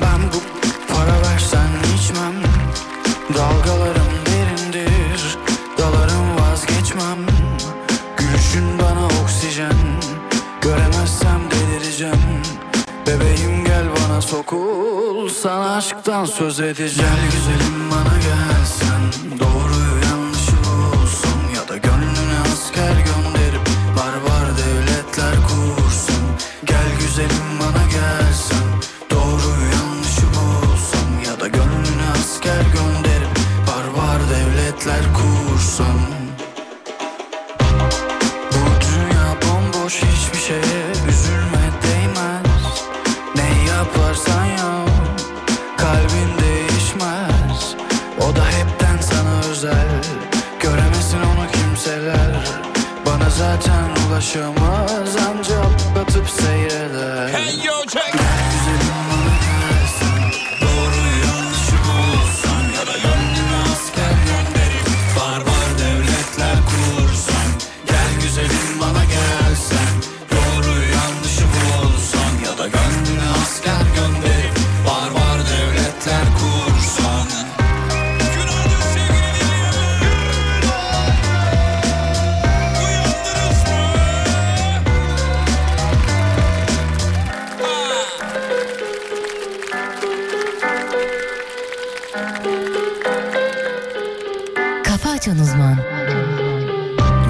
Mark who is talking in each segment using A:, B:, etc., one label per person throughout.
A: ben bu para versen içmem Dalgalarım derindir dalarım vazgeçmem Gülüşün bana oksijen göremezsem delireceğim Bebeğim gel bana sokul sana aşktan söz edeceğim Gel güzelim bana gelsen doğruyu yanlışı bulsun Ya da gönlüne asker gönderip barbar devletler kursun Gel güzelim bana gelsen Doğruyu yanlışı bulsun Ya da gönlüne asker gönderip Barbar devletler kursun Bu dünya bomboş hiçbir şeye üzülme değmez Ne yaparsan yap Kalbin değişmez O da hepten sana özel Göremesin onu kimseler Bana zaten ulaşamaz Ancak batıp seyreder
B: Hey yo check.
C: Kafa Açan Uzman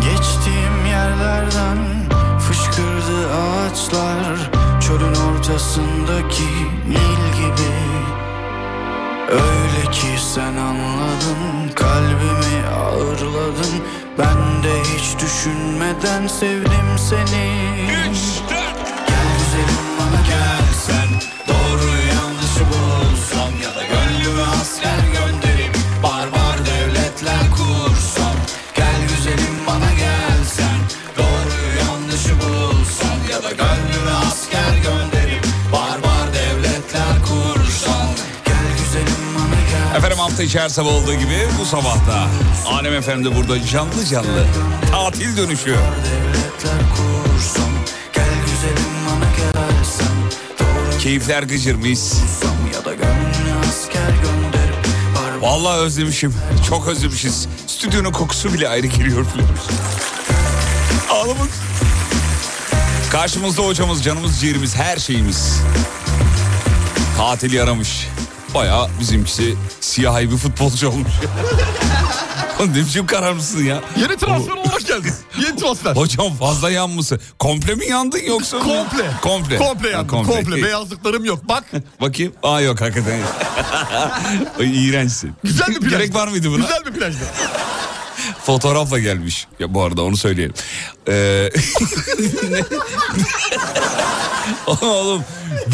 A: Geçtiğim yerlerden fışkırdı ağaçlar Çölün ortasındaki nil gibi Öyle ki sen anladın kalbimi ağırladın Ben de hiç düşünmeden sevdim seni Gel güzelim bana gelsen Doğru yanlışı bulsam Ya da gönlümü asker gönderip Barbar devletler kursam Gel güzelim bana gelsen Doğru yanlışı bulsam Ya da gönlümü asker gönderip Barbar devletler kursam Gel güzelim bana gel
B: Efendim hafta içi her sabah olduğu gibi bu sabah da Alem Efendi burada canlı canlı tatil dönüşü.
A: Devletler kursam Gel güzelim bana gelsen Doğru
B: Keyifler gıcırmış.
A: bulsam Ya da gönlümü asker gönderip Barbar
B: Vallahi özlemişim. Çok özlemişiz. Stüdyonun kokusu bile ayrı geliyor filan. Ağlamak. Karşımızda hocamız, canımız, ciğerimiz, her şeyimiz. Tatil yaramış. Bayağı bizimkisi siyahi bir futbolcu olmuş. Oğlum ne biçim kararmışsın ya?
D: Yeni transfer olarak geldin. Yeni transfer.
B: Hocam fazla yanmışsın. Komple mi yandın yoksa?
D: Komple.
B: Komple.
D: Komple
B: Ha,
D: yandım.
B: komple.
D: Komple.
B: İyi.
D: Beyazlıklarım yok. Bak
B: Bakayım. Aa yok hakikaten. yok. Ay, İğrençsin.
D: güzel bir plaj.
B: Gerek var mıydı buna?
D: Güzel bir plajdı.
B: Fotoğrafla gelmiş. Ya bu arada onu söyleyelim. Ee, ne- Oğlum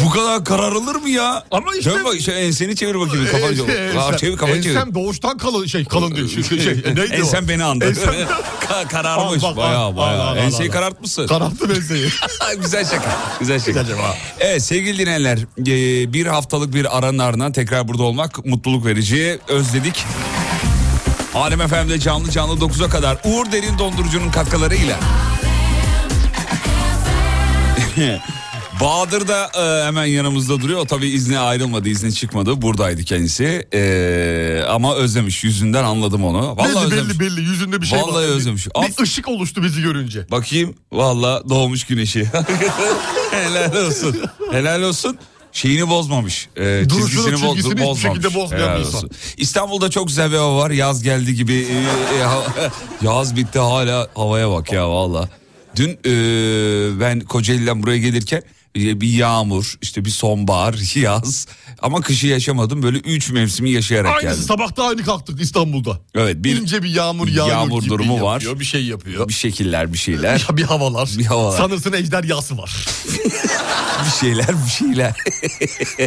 B: bu kadar kararılır mı ya?
D: Ama işte- şey,
B: Dön bak, şey, enseni çevir bakayım. Kafanı çevir. Aa, çevir kafanı çevir.
D: Ee, Ensem doğuştan kalın şey kalın diyor. Şey, şey, neydi o?
B: Ensem beni andı.
D: Ensem
B: Ka- kararmış
D: Al bak, al,
B: bayağı bayağı.
D: al, al, al,
B: Enseyi
D: al.
B: karartmışsın.
D: kararttı benzeyi.
B: güzel şaka. Güzel şaka.
D: Güzel şaka.
B: Evet sevgili dinleyenler e, bir haftalık bir aranın ardından tekrar burada olmak mutluluk verici. Özledik. Alem FM'de canlı canlı 9'a kadar Uğur Derin Dondurucu'nun katkılarıyla. Bahadır da e, hemen yanımızda duruyor. O tabii izne ayrılmadı, izne çıkmadı. Buradaydı kendisi. E, ama özlemiş. Yüzünden anladım onu. Vallahi
D: belli
B: özlemiş.
D: belli belli yüzünde bir şey var.
B: Vallahi özlemiş.
D: Bir,
B: Af-
D: bir ışık oluştu bizi görünce.
B: Bakayım valla doğmuş güneşi. Helal olsun. Helal olsun. Şeyini bozmamış. Ee,
D: Duruşunu,
B: çizgisini boz-
D: çizgisini hiçbir şekilde bozmayan
B: Helal
D: bir insan.
B: olsun. İstanbul'da çok güzel bir hava var. Yaz geldi gibi. Ee, e, ha- yaz bitti hala havaya bak ya valla. Dün e, ben Kocaeli'den buraya gelirken e, bir yağmur, işte bir sonbahar, yaz. Ama kışı yaşamadım. Böyle üç mevsimi yaşayarak
D: Aynısı
B: geldim.
D: sabah da aynı kalktık İstanbul'da.
B: Evet bir,
D: İnce bir yağmur yağmur,
B: Yağmur
D: gibi
B: durumu var.
D: yapıyor, Bir şey yapıyor.
B: bir şekiller bir şeyler.
D: Ya bir havalar.
B: Bir havalar.
D: Sanırsın ejder yası var.
B: Bir şeyler bir şeyler.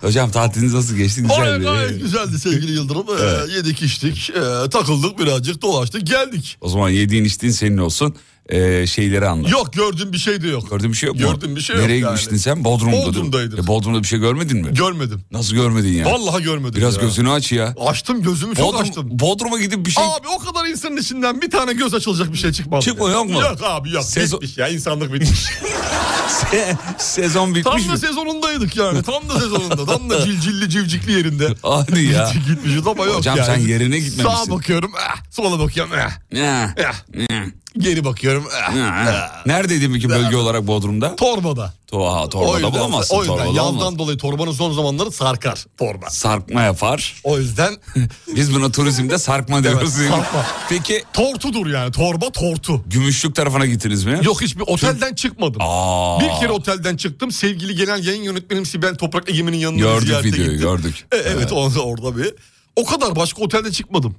B: Hocam tatiliniz nasıl geçti? Güzel
D: Gayet
B: mi?
D: gayet güzeldi sevgili Yıldırım. Ee, yedik içtik, ee, takıldık birazcık dolaştık geldik.
B: O zaman yediğin içtiğin senin olsun. Ee, e, şeyleri anlat.
D: Yok gördüğüm bir şey de yok.
B: Gördün bir şey yok mu?
D: Gördüm bir şey yok
B: Nereye
D: yani.
B: gitmiştin sen? Bodrum'da.
D: Bodrum'daydım.
B: E, Bodrum'da bir şey görmedin mi?
D: Görmedim.
B: Nasıl görmedin ya?
D: Vallahi görmedim
B: Biraz
D: ya.
B: gözünü aç ya.
D: Açtım gözümü çok açtım.
B: Bodrum, Bodrum'a gidip bir şey...
D: Abi o kadar insanın içinden bir tane göz açılacak bir şey çıkmadı.
B: Çıkmıyor,
D: ya.
B: yok mu?
D: Yok abi yok.
B: Sezon-
D: Bitmiş ya insanlık bitmiş.
B: Se- Sezon bitmiş
D: tam da
B: mi?
D: sezonundaydık yani. Tam da sezonunda. Tam da cilcilli civcikli yerinde.
B: Hadi ya.
D: Gitmişiz ama yok
B: Hocam
D: yani.
B: sen yerine gitmemişsin.
D: Sağa bakıyorum. eh, sola bakıyorum. eh,
B: Ya,
D: eh. Geri bakıyorum. eh.
B: ya, ya. Neredeydin peki bölge olarak Bodrum'da?
D: Torbada.
B: Toha, torbada bulamazsın.
D: o yüzden
B: torbada
D: yazdan
B: olmaz.
D: dolayı torbanın son zamanları sarkar torba.
B: Sarkma yapar.
D: O yüzden
B: Biz buna turizmde sarkma diyoruz. değil mi?
D: sarkma.
B: Peki
D: tortudur yani torba tortu.
B: Gümüşlük tarafına gittiniz mi?
D: Yok hiçbir otelden çıkmadım.
B: Aa,
D: Bir kere otelden çıktım. Sevgili genel yayın yönetmenim Sibel Toprak Egemen'in yanına
B: Gördük
D: ziyarete
B: videoyu
D: gittim.
B: gördük.
D: E, evet orada, orada bir. O kadar başka otelde çıkmadım.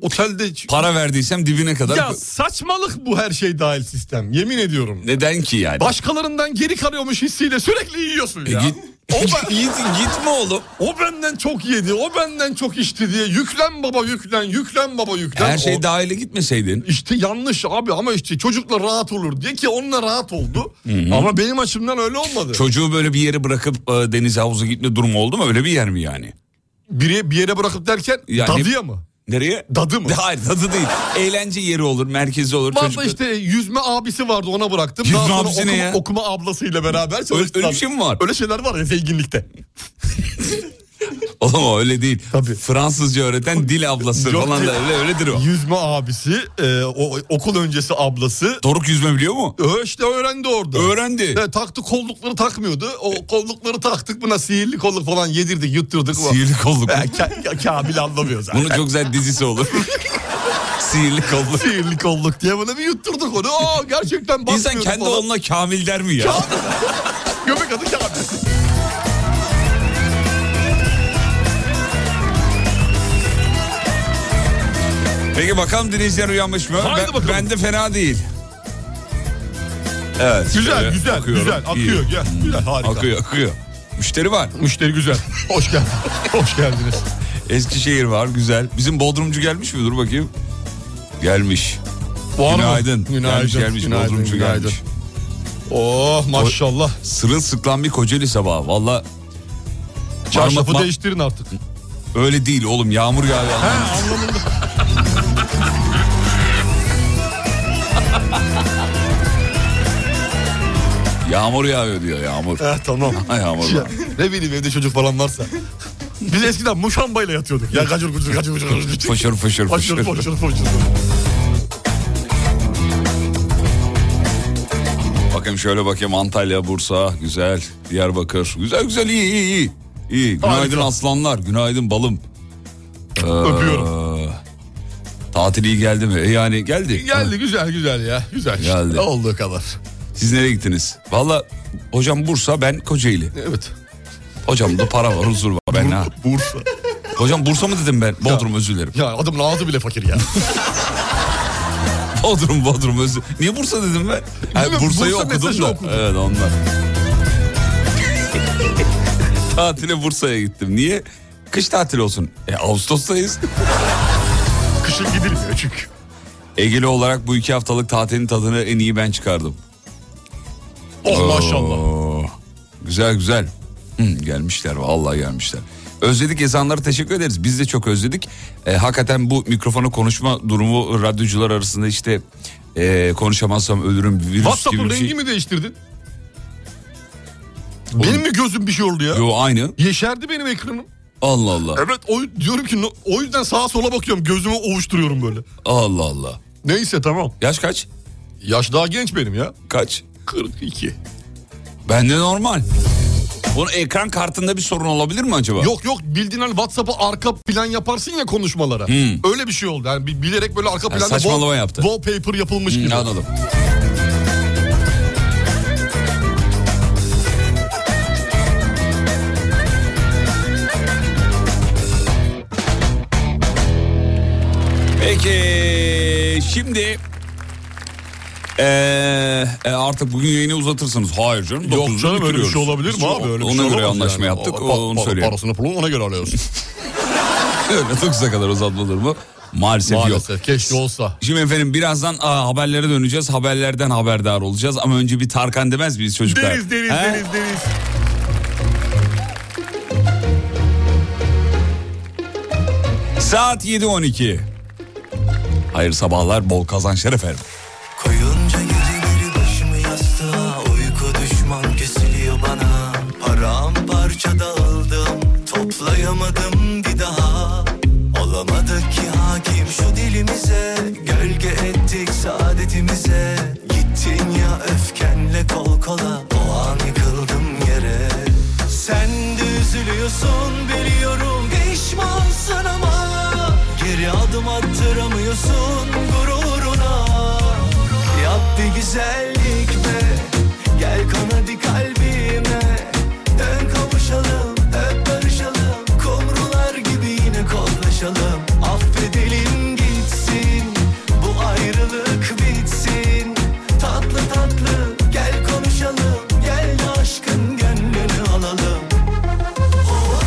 D: Otelde...
B: Para verdiysem dibine kadar.
D: ya saçmalık bu her şey dahil sistem. Yemin ediyorum.
B: Neden ki yani?
D: Başkalarından geri kalıyormuş hissiyle sürekli yiyorsun
B: E
D: ya.
B: git.
D: O,
B: Git-
D: ben-
B: gitme oğlum.
D: o benden çok yedi, o benden çok içti diye yüklen baba yüklen, yüklen baba yüklen.
B: Her şey
D: O-
B: dahile gitmeseydin.
D: İşte yanlış abi ama işte çocukla rahat olur diye ki onunla rahat oldu. Ama benim açımdan öyle olmadı.
B: Çocuğu böyle bir yere bırakıp e, denize havuza gitme durumu oldu mu? Öyle bir yer mi yani?
D: Biri bir yere bırakıp derken
B: Yani-
D: dadıya mı?
B: Nereye?
D: Dadı mı?
B: Hayır dadı değil. Eğlence yeri olur, merkezi olur.
D: Valla
B: Çocuklar-
D: işte yüzme abisi vardı ona bıraktım.
B: Yüzme
D: Daha sonra
B: abisi ne
D: okuma,
B: ya?
D: okuma ablasıyla beraber çalıştılar.
B: öyle bir şey mi var?
D: Öyle şeyler var ya zenginlikte.
B: Oğlum o öyle değil.
D: Tabii.
B: Fransızca öğreten dil ablası
D: Yok
B: falan
D: değil.
B: da öyle öyledir o.
D: Yüzme abisi, e, o, okul öncesi ablası.
B: Doruk yüzme biliyor mu?
D: Ö, işte öğrendi orada.
B: Öğrendi. E-
D: E, taktı kollukları takmıyordu. O kollukları taktık buna sihirli kolluk falan yedirdik yutturdık.
B: Sihirli kolluk.
D: E, Ka- Ka- Kamil anlamıyor zaten.
B: Bunun çok güzel dizisi olur. Sihirli kolluk.
D: Sihirli kolluk diye bana bir yutturdık onu. Aa gerçekten bakmıyordu
B: İnsan kendi
D: falan.
B: oğluna Kamil der mi ya?
D: Kamil. Göbek adı Kamil.
B: Peki bakalım dinleyiciler uyanmış mı?
D: Haydi
B: ben,
D: bakalım.
B: Bende fena değil. Evet.
D: Güzel
B: şöyle
D: güzel
B: bakıyorum.
D: güzel akıyor.
B: İyi.
D: Gel, güzel harika.
B: Akıyor akıyor. Müşteri var.
D: Müşteri güzel. Hoş geldin. Hoş geldiniz.
B: Eskişehir var güzel. Bizim Bodrumcu gelmiş mi? Dur bakayım. Gelmiş.
D: Var mı?
B: Günaydın. Gelmiş gelmiş
D: günaydın,
B: Bodrumcu
D: günaydın.
B: gelmiş.
D: Oh maşallah.
B: Sırılsıklam bir Kocaeli sabahı. Valla
D: Çarşafı
B: Parmak-
D: değiştirin artık.
B: öyle değil oğlum yağmur yağıyor.
D: Anlamında.
B: Yağmur yağıyor diyor yağmur.
D: Eh, tamam.
B: Ay yağmur.
D: Ya, ne bileyim evde çocuk falan varsa. Biz eskiden muşambayla yatıyorduk. Ya gacır gucur gacır gucur gacır gucur.
B: Fışır fışır
D: Foşur
B: fışır.
D: foşur foşur.
B: Bakayım şöyle bakayım Antalya, Bursa güzel. Diyarbakır güzel güzel iyi iyi iyi. İyi. Günaydın
D: Harika.
B: aslanlar. Günaydın balım.
D: Öpüyorum.
B: Tatil iyi geldi mi? E yani geldi.
D: Geldi güzel güzel ya. Güzel. işte.
B: Geldi.
D: Olduğu kadar.
B: Siz nereye gittiniz? Valla hocam Bursa ben Kocaeli.
D: Evet.
B: Hocam da para var huzur var ben ha.
D: Bursa.
B: Hocam Bursa mı dedim ben? Bodrum özür dilerim.
D: Ya adamın ağzı bile fakir ya.
B: Bodrum Bodrum özür Niye Bursa dedim ben? Ha,
D: Bilmiyorum,
B: Bursa'yı
D: Bursa
B: okudum
D: mesajı
B: da.
D: okudum.
B: Evet ondan. Tatile Bursa'ya gittim. Niye? Kış tatili olsun. E, Ağustos'tayız.
D: Kışın gidilmiyor çünkü.
B: Egeli olarak bu iki haftalık tatilin tadını en iyi ben çıkardım.
D: Oh maşallah.
B: Oo, güzel güzel. Hı, gelmişler vallahi gelmişler. Özledik ezanlara teşekkür ederiz. Biz de çok özledik. E, hakikaten bu mikrofona konuşma durumu radyocular arasında işte e, konuşamazsam ölürüm virüs gibi
D: WhatsApp'ın
B: bir
D: rengi
B: şey.
D: mi değiştirdin? Benim mi gözüm bir şey oldu ya?
B: Yo aynı.
D: Yeşerdi benim ekranım.
B: Allah Allah.
D: Evet o, diyorum ki no- o yüzden sağa sola bakıyorum gözümü ovuşturuyorum böyle.
B: Allah Allah.
D: Neyse tamam.
B: Yaş kaç?
D: Yaş daha genç benim ya.
B: Kaç?
D: 42.
B: Bende normal. Bunun ekran kartında bir sorun olabilir mi acaba?
D: Yok yok bildiğin hani WhatsApp'a arka plan yaparsın ya konuşmalara. Öyle bir şey oldu. Yani bi- bilerek böyle arka planda
B: Hmm. saçmalama yaptı.
D: wallpaper yapılmış
B: Hı,
D: gibi.
B: Anladım. Peki şimdi eee, e, artık bugün yayını uzatırsınız. Hayır canım.
D: Yok
B: dokuzda
D: canım öyle bir
B: bitiriyoruz.
D: şey olabilir mi abi? Öyle bir
B: ona
D: şey
B: göre
D: olamaz
B: anlaşma
D: yani.
B: yaptık.
D: Pa-
B: onu
D: pa-
B: söyleyeyim.
D: Parasını pulunu ona göre alıyorsun.
B: Öyle 9'a kadar uzatma durumu. Maalesef, yok.
D: Maalesef keşke olsa.
B: Şimdi efendim birazdan aa, haberlere döneceğiz. Haberlerden haberdar olacağız. Ama önce bir Tarkan demez miyiz çocuklar?
D: Deniz deniz
B: He?
D: deniz deniz.
B: Saat 7.12. Hayır sabahlar bol kazançlar efendim.
E: Koyunca geceleri başımı yastığa Uyku düşman kesiliyor bana Paramparça dağıldım Toplayamadım bir daha Olamadık ki hakim şu dilimize Gölge ettik saadetimize Gittin ya öfkenle kol kola O an yıkıldım yere Sen de üzülüyorsun biliyorum Pişmansın ama Geri adım attıramıyorsun gururuna Yap bir güzellik be Gel kan hadi kalbime Dön kavuşalım öp barışalım Kumrular gibi yine kollaşalım Affedelim gitsin Bu ayrılık bitsin Tatlı tatlı gel konuşalım Gel de aşkın gönlünü alalım Oh,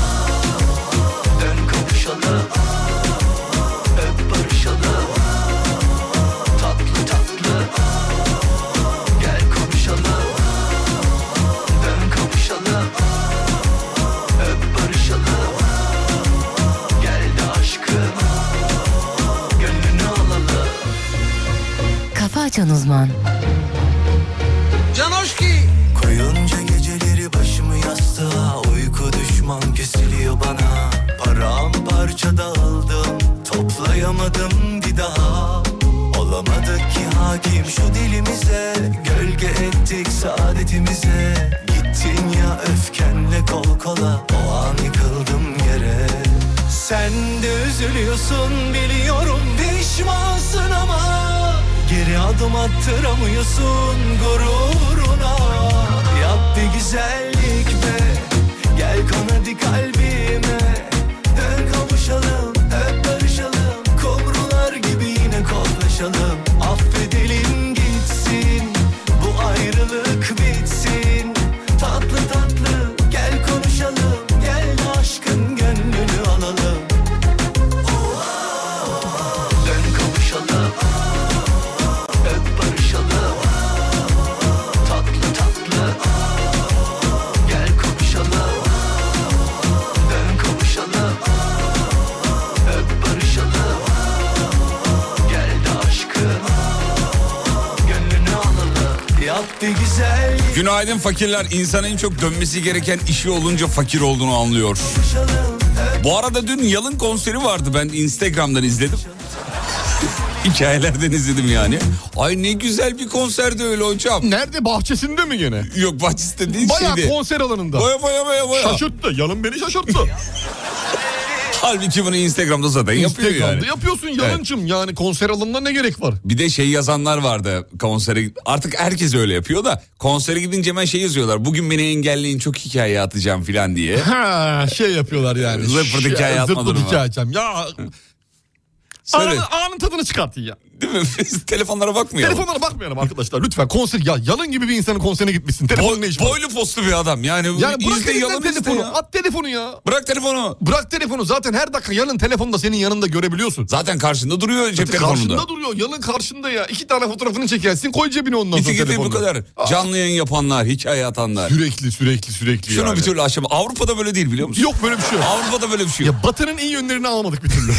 E: Dön kavuşalım Oh, Öp barışalım Tatlı tatlı Gel konuşalım Dön kavuşalım Öp barışalım Gel de aşkım Gönlünü alalım
F: Kafa Açan Uzman
E: Koyunca geceleri başımı yastığa Uyku düşman kesiliyor bana Paramparça dağıldım Toplayamadım bir daha Olamadık ki hakim şu dilimize Gölge ettik saadetimize Gittin ya öfkenle kol kola O an yıkıldım yere Sen de üzülüyorsun biliyorum Pişmansın ama Geri adım attıramıyorsun gururuna Yap bir güzellik be Gel kan hadi kalbime Dön kavuşalım öp barışalım Kumrular gibi yine kollaşalım Affedelim gitsin Bu ayrılık bitsin Tatlı tatlı gel konuşalım Gel de aşkın gönlünü alalım Oh, Dön kavuşalım Öp barışalım Tatlı tatlı Gel konuşalım Dön kavuşalım Öp barışalım Gel de aşkım Gönlünü alalım Yap bir güzel
B: Günaydın fakirler. İnsanın en çok dönmesi gereken işi olunca fakir olduğunu anlıyor.
E: konuşalım
B: Bu arada dün Yalın konseri vardı. Ben Instagram'dan izledim. Hikayelerden izledim yani. Ay ne güzel bir konserdi öyle hocam.
D: Nerede bahçesinde mi gene?
B: Yok bahçesi değil
D: Baya
B: şeydi.
D: konser alanında.
B: Baya baya baya baya.
D: Şaşırttı. Yalın beni şaşırttı.
B: Halbuki bunu Instagram'da zaten yapıyor
D: Instagram'da
B: yani.
D: yapıyorsun yalıncım. Yani konser alanına ne gerek var?
B: Bir de şey yazanlar vardı konsere artık herkes öyle yapıyor da konsere gidince hemen şey yazıyorlar. Bugün beni engelleyin çok hikaye atacağım filan diye.
D: Ha şey yapıyorlar yani.
B: Zıpır hikaye
D: Şey,
B: atma
D: zıpır
B: durumu.
D: hikaye atacağım. Ya
B: Söyle
D: anın, anın tadını çıkartın ya.
B: değil mi? Biz telefonlara bakmayalım.
D: Telefonlara bakmayalım arkadaşlar lütfen. Konser ya yalın gibi bir insanın konserine gitmişsin. Telefonun ne
B: Boy,
D: işi var?
B: boylu postlu bir adam yani,
D: Yani bırak
B: izle
D: elinden
B: yalan izle
D: telefonu.
B: ya.
D: At telefonu ya.
B: Bırak telefonu.
D: Bırak telefonu zaten her dakika yalın telefonu da senin yanında görebiliyorsun.
B: Zaten karşında duruyor cep
D: Zaten
B: telefonunda.
D: karşında duruyor yalın karşında ya. İki tane fotoğrafını çekersin koy cebine ondan
B: Bitti
D: sonra
B: gitti bu
D: telefonunu.
B: kadar. Canlı yayın yapanlar, hikaye atanlar.
D: Sürekli sürekli sürekli
B: Şunu
D: yani.
B: bir türlü aşama. Avrupa'da böyle değil biliyor musun?
D: Yok böyle bir şey yok.
B: Avrupa'da böyle bir şey yok.
D: Ya Batı'nın iyi yönlerini alamadık bir türlü.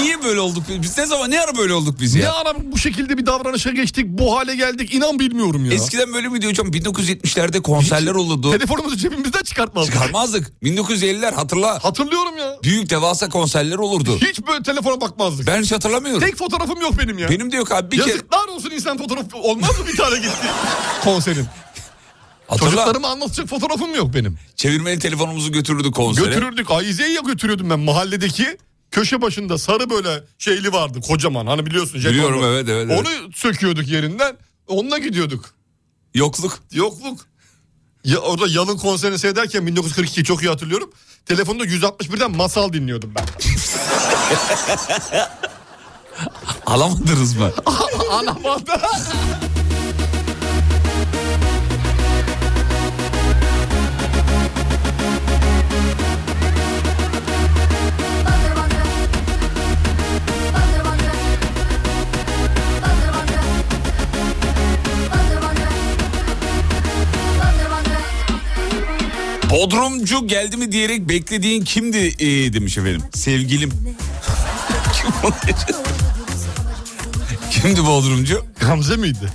B: Niye böyle olduk? biz? Biz ne zaman ne ara böyle olduk biz ya?
D: ne ara bu şekilde bir davranışa geçtik bu hale geldik inan bilmiyorum ya.
B: Eskiden böyle miydi hocam? 1970'lerde konserler olurdu.
D: Telefonumuzu cebimizden çıkartmazdık.
B: Çıkarmazdık. 1950'ler hatırla.
D: Hatırlıyorum ya.
B: Büyük devasa konserler olurdu.
D: Hiç böyle telefona bakmazdık.
B: Ben hiç hatırlamıyorum.
D: Tek fotoğrafım yok benim ya.
B: Benim de yok abi. Bir kere
D: Yazıklar olsun insan fotoğrafı olmaz mı bir tane gitti konserin?
B: hatırla.
D: Çocuklarıma anlatacak fotoğrafım yok benim.
B: Çevirmeli telefonumuzu götürürdük konsere.
D: Götürürdük Ayize'yi ya götürüyordum ben mahalledeki köşe başında sarı böyle şeyli vardı kocaman hani biliyorsun. jetonlu.
B: Biliyorum, evet, evet, evet.
D: Onu söküyorduk yerinden onunla gidiyorduk.
B: Yokluk.
D: Yokluk. Ya orada Yalın konserini seyrederken 1942 çok iyi hatırlıyorum. Telefonda 161'den masal dinliyordum ben.
B: Alamadınız mı?
D: Anamanda.
B: Bodrumcu geldi mi diyerek beklediğin kimdi ee, demiş efendim. Sevgilim. Kim olacak? Kimdi Bodrumcu?
D: Gamze miydi?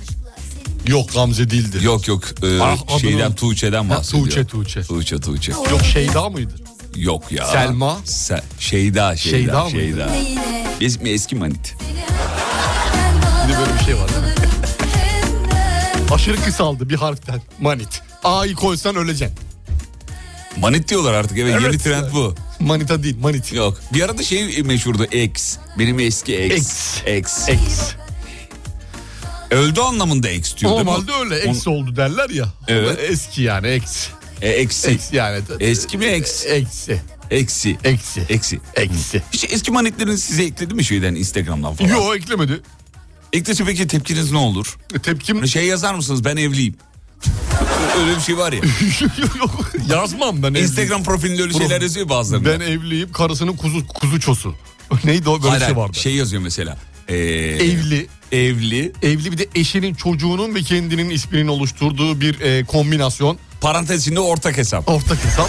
D: Yok Gamze değildi.
B: Yok yok ee,
D: Ah, adını-
B: şeyden Tuğçe'den
D: Ha,
B: bahsediyor.
D: Tuğçe, Tuğçe.
B: Tuğçe Tuğçe.
D: Yok Şeyda mıydı?
B: Yok ya.
D: Selma?
B: Se- Şeyda
D: Şeyda
B: Şeyda
D: mıydı?
B: Şeyda. Biz mi eski manit?
D: Bir de böyle bir şey var. değil mi? Aşırı kısaldı bir harften. Manit. A'yı koysan öleceksin.
B: Manit diyorlar artık evet, yeni trend bu.
D: Manita değil manit.
B: Yok. Bir arada şey meşhurdu ex. Benim eski ex.
D: Ex.
B: Ex.
D: X.
B: Öldü anlamında ex diyor değil mi?
D: Normalde öyle
B: On-
D: ex oldu derler ya.
B: Evet.
D: Ama Eski yani ex.
B: E, eksi.
D: Ex yani.
B: Eski mi ex?
D: Eksi.
B: Eksi.
D: Eksi.
B: Eksi.
D: Eksi.
B: Hiç eski manitlerini size ekledi mi şeyden Instagram'dan falan?
D: Yo eklemedi.
B: Eklese peki tepkiniz ne olur?
D: E, Tepkim
B: Şey yazar mısınız ben evliyim. öyle bir şey var ya.
D: yok. Yazmam ben.
B: Instagram profilinde öyle şeyler
D: Prof-
B: yazıyor bazıları.
D: evliyim. Ben evliyim karısının kuzu, kuzuçosu. Neydi o böyle
B: Hayır,
D: şey
B: hayır,
D: vardı.
B: şey yazıyor mesela. ee,
D: Evli.
B: Evli.
D: Evli bir de eşinin çocuğunun ve kendinin isminin oluşturduğu bir e, kombinasyon.
B: Parantez içinde ortak hesap.
D: Ortak hesap.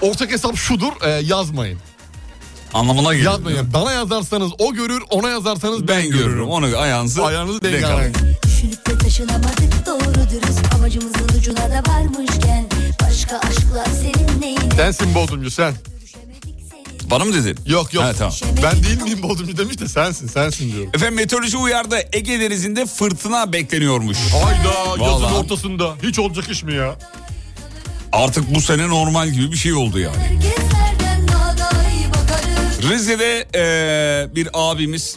D: Ortak hesap şudur e, yazmayın.
B: Anlamına geliyor.
D: Yazmayın. Bana yazarsanız o görür ona yazarsanız
B: Ben,
D: ben,
B: görürüm. Onu ayağınızı,
D: Ayağınızı
B: denk
D: denk
B: alın.
D: alın.
F: Düşünüp de taşınamadık doğru dürüst Amacımızın ucuna da varmışken Başka aşklar senin neyine
D: Sensin Bodrumcu sen.
F: Görüşemedik seninle.
B: Bana mı dedin?
D: Yok yok.
B: Ha, tamam.
D: Ben değil miyim Bodrumcu demiş de sensin sensin diyorum.
B: Efendim meteoroloji uyardı. Ege Denizi'nde fırtına bekleniyormuş.
D: Hayda
B: Vallahi.
D: yazın ortasında. Hiç olacak iş mi ya?
B: Artık bu sene normal gibi bir şey oldu yani.
F: Herkeslerden daha da iyi bakarım
B: Rize'de eee, bir abimiz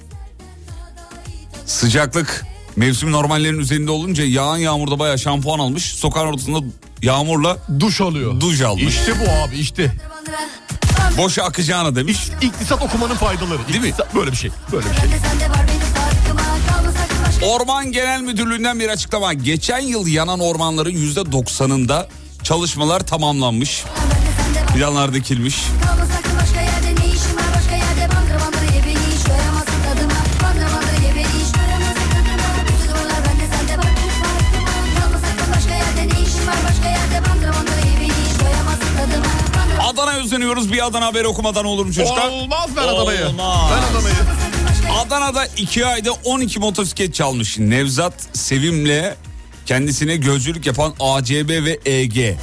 B: sıcaklık mevsim normallerinin üzerinde olunca yağan yağmurda bayağı şampuan almış. Sokağın ortasında yağmurla
D: Duş alıyor.
B: duş almış.
D: İşte bu abi işte.
F: bana
B: Boşa akacağına demiş.
D: İş, iktisat okumanın faydaları.
B: Değil mi?
D: İktisat- Böyle bir şey. Böyle bir şey.
F: Ben de sende var benim farkıma Kalmasak da başka
B: Orman Genel Müdürlüğü'nden bir açıklama. Geçen yıl yanan ormanların yüzde doksanında çalışmalar tamamlanmış.
F: Ben de sende var
B: Planlar dikilmiş.
F: Kalmasak da başka yerde ne işim var Başka yerde bandır bandır ye beni hiç Göremezsin tadıma Bandır bandır ye beni hiç Göremezsin tadıma Bütün duvarlar bende sende var benim farkıma Kalmasak da başka yerde ne işim var Başka yerde bandır bandır ye beni hiç Göremezsin tadıma Bandır
B: Adana'ya özeniyoruz. Bir Adana haberi okumadan olur mu çocuklar?
D: Olmaz ben Adana'yı.
B: Olmaz.
D: Ben Adana'yı.
B: Adana'da iki ayda 12 motosiklet çalmış. Nevzat Sevim'le kendisine gözcülük yapan ACB ve EG.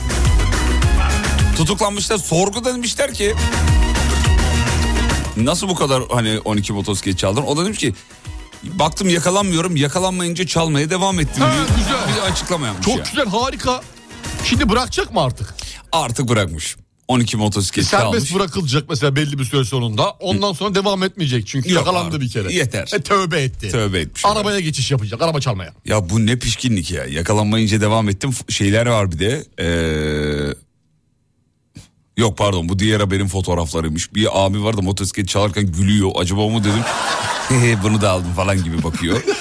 B: Tutuklanmışlar. Sorguda demişler ki... Nasıl bu kadar hani 12 motosiklet çaldın? O da demiş ki baktım yakalanmıyorum yakalanmayınca çalmaya devam ettim.
D: Ha,
B: diye
D: güzel.
B: Bir açıklama yapmış
D: Çok
B: ya.
D: güzel harika. Şimdi bırakacak mı artık?
B: Artık bırakmış. 12 motosiklet
D: E, Serbest
B: çalmış.
D: bırakılacak mesela belli bir süre sonunda. Ondan sonra devam etmeyecek çünkü
B: Yok
D: yakalandı
B: abi,
D: bir kere.
B: yeter.
D: E, tövbe etti.
B: Tövbe etmiş.
D: Arabaya geçiş yapacak. Araba çalmaya.
B: Ya bu ne pişkinlik ya. Yakalanmayınca devam ettim. F- Şeyler var bir de. Ee... Yok pardon bu diğer haberin fotoğraflarıymış. Bir abi var da motosiklet çalarken gülüyor. Acaba o mu dedim. "Hehe, Bunu da aldım falan gibi bakıyor.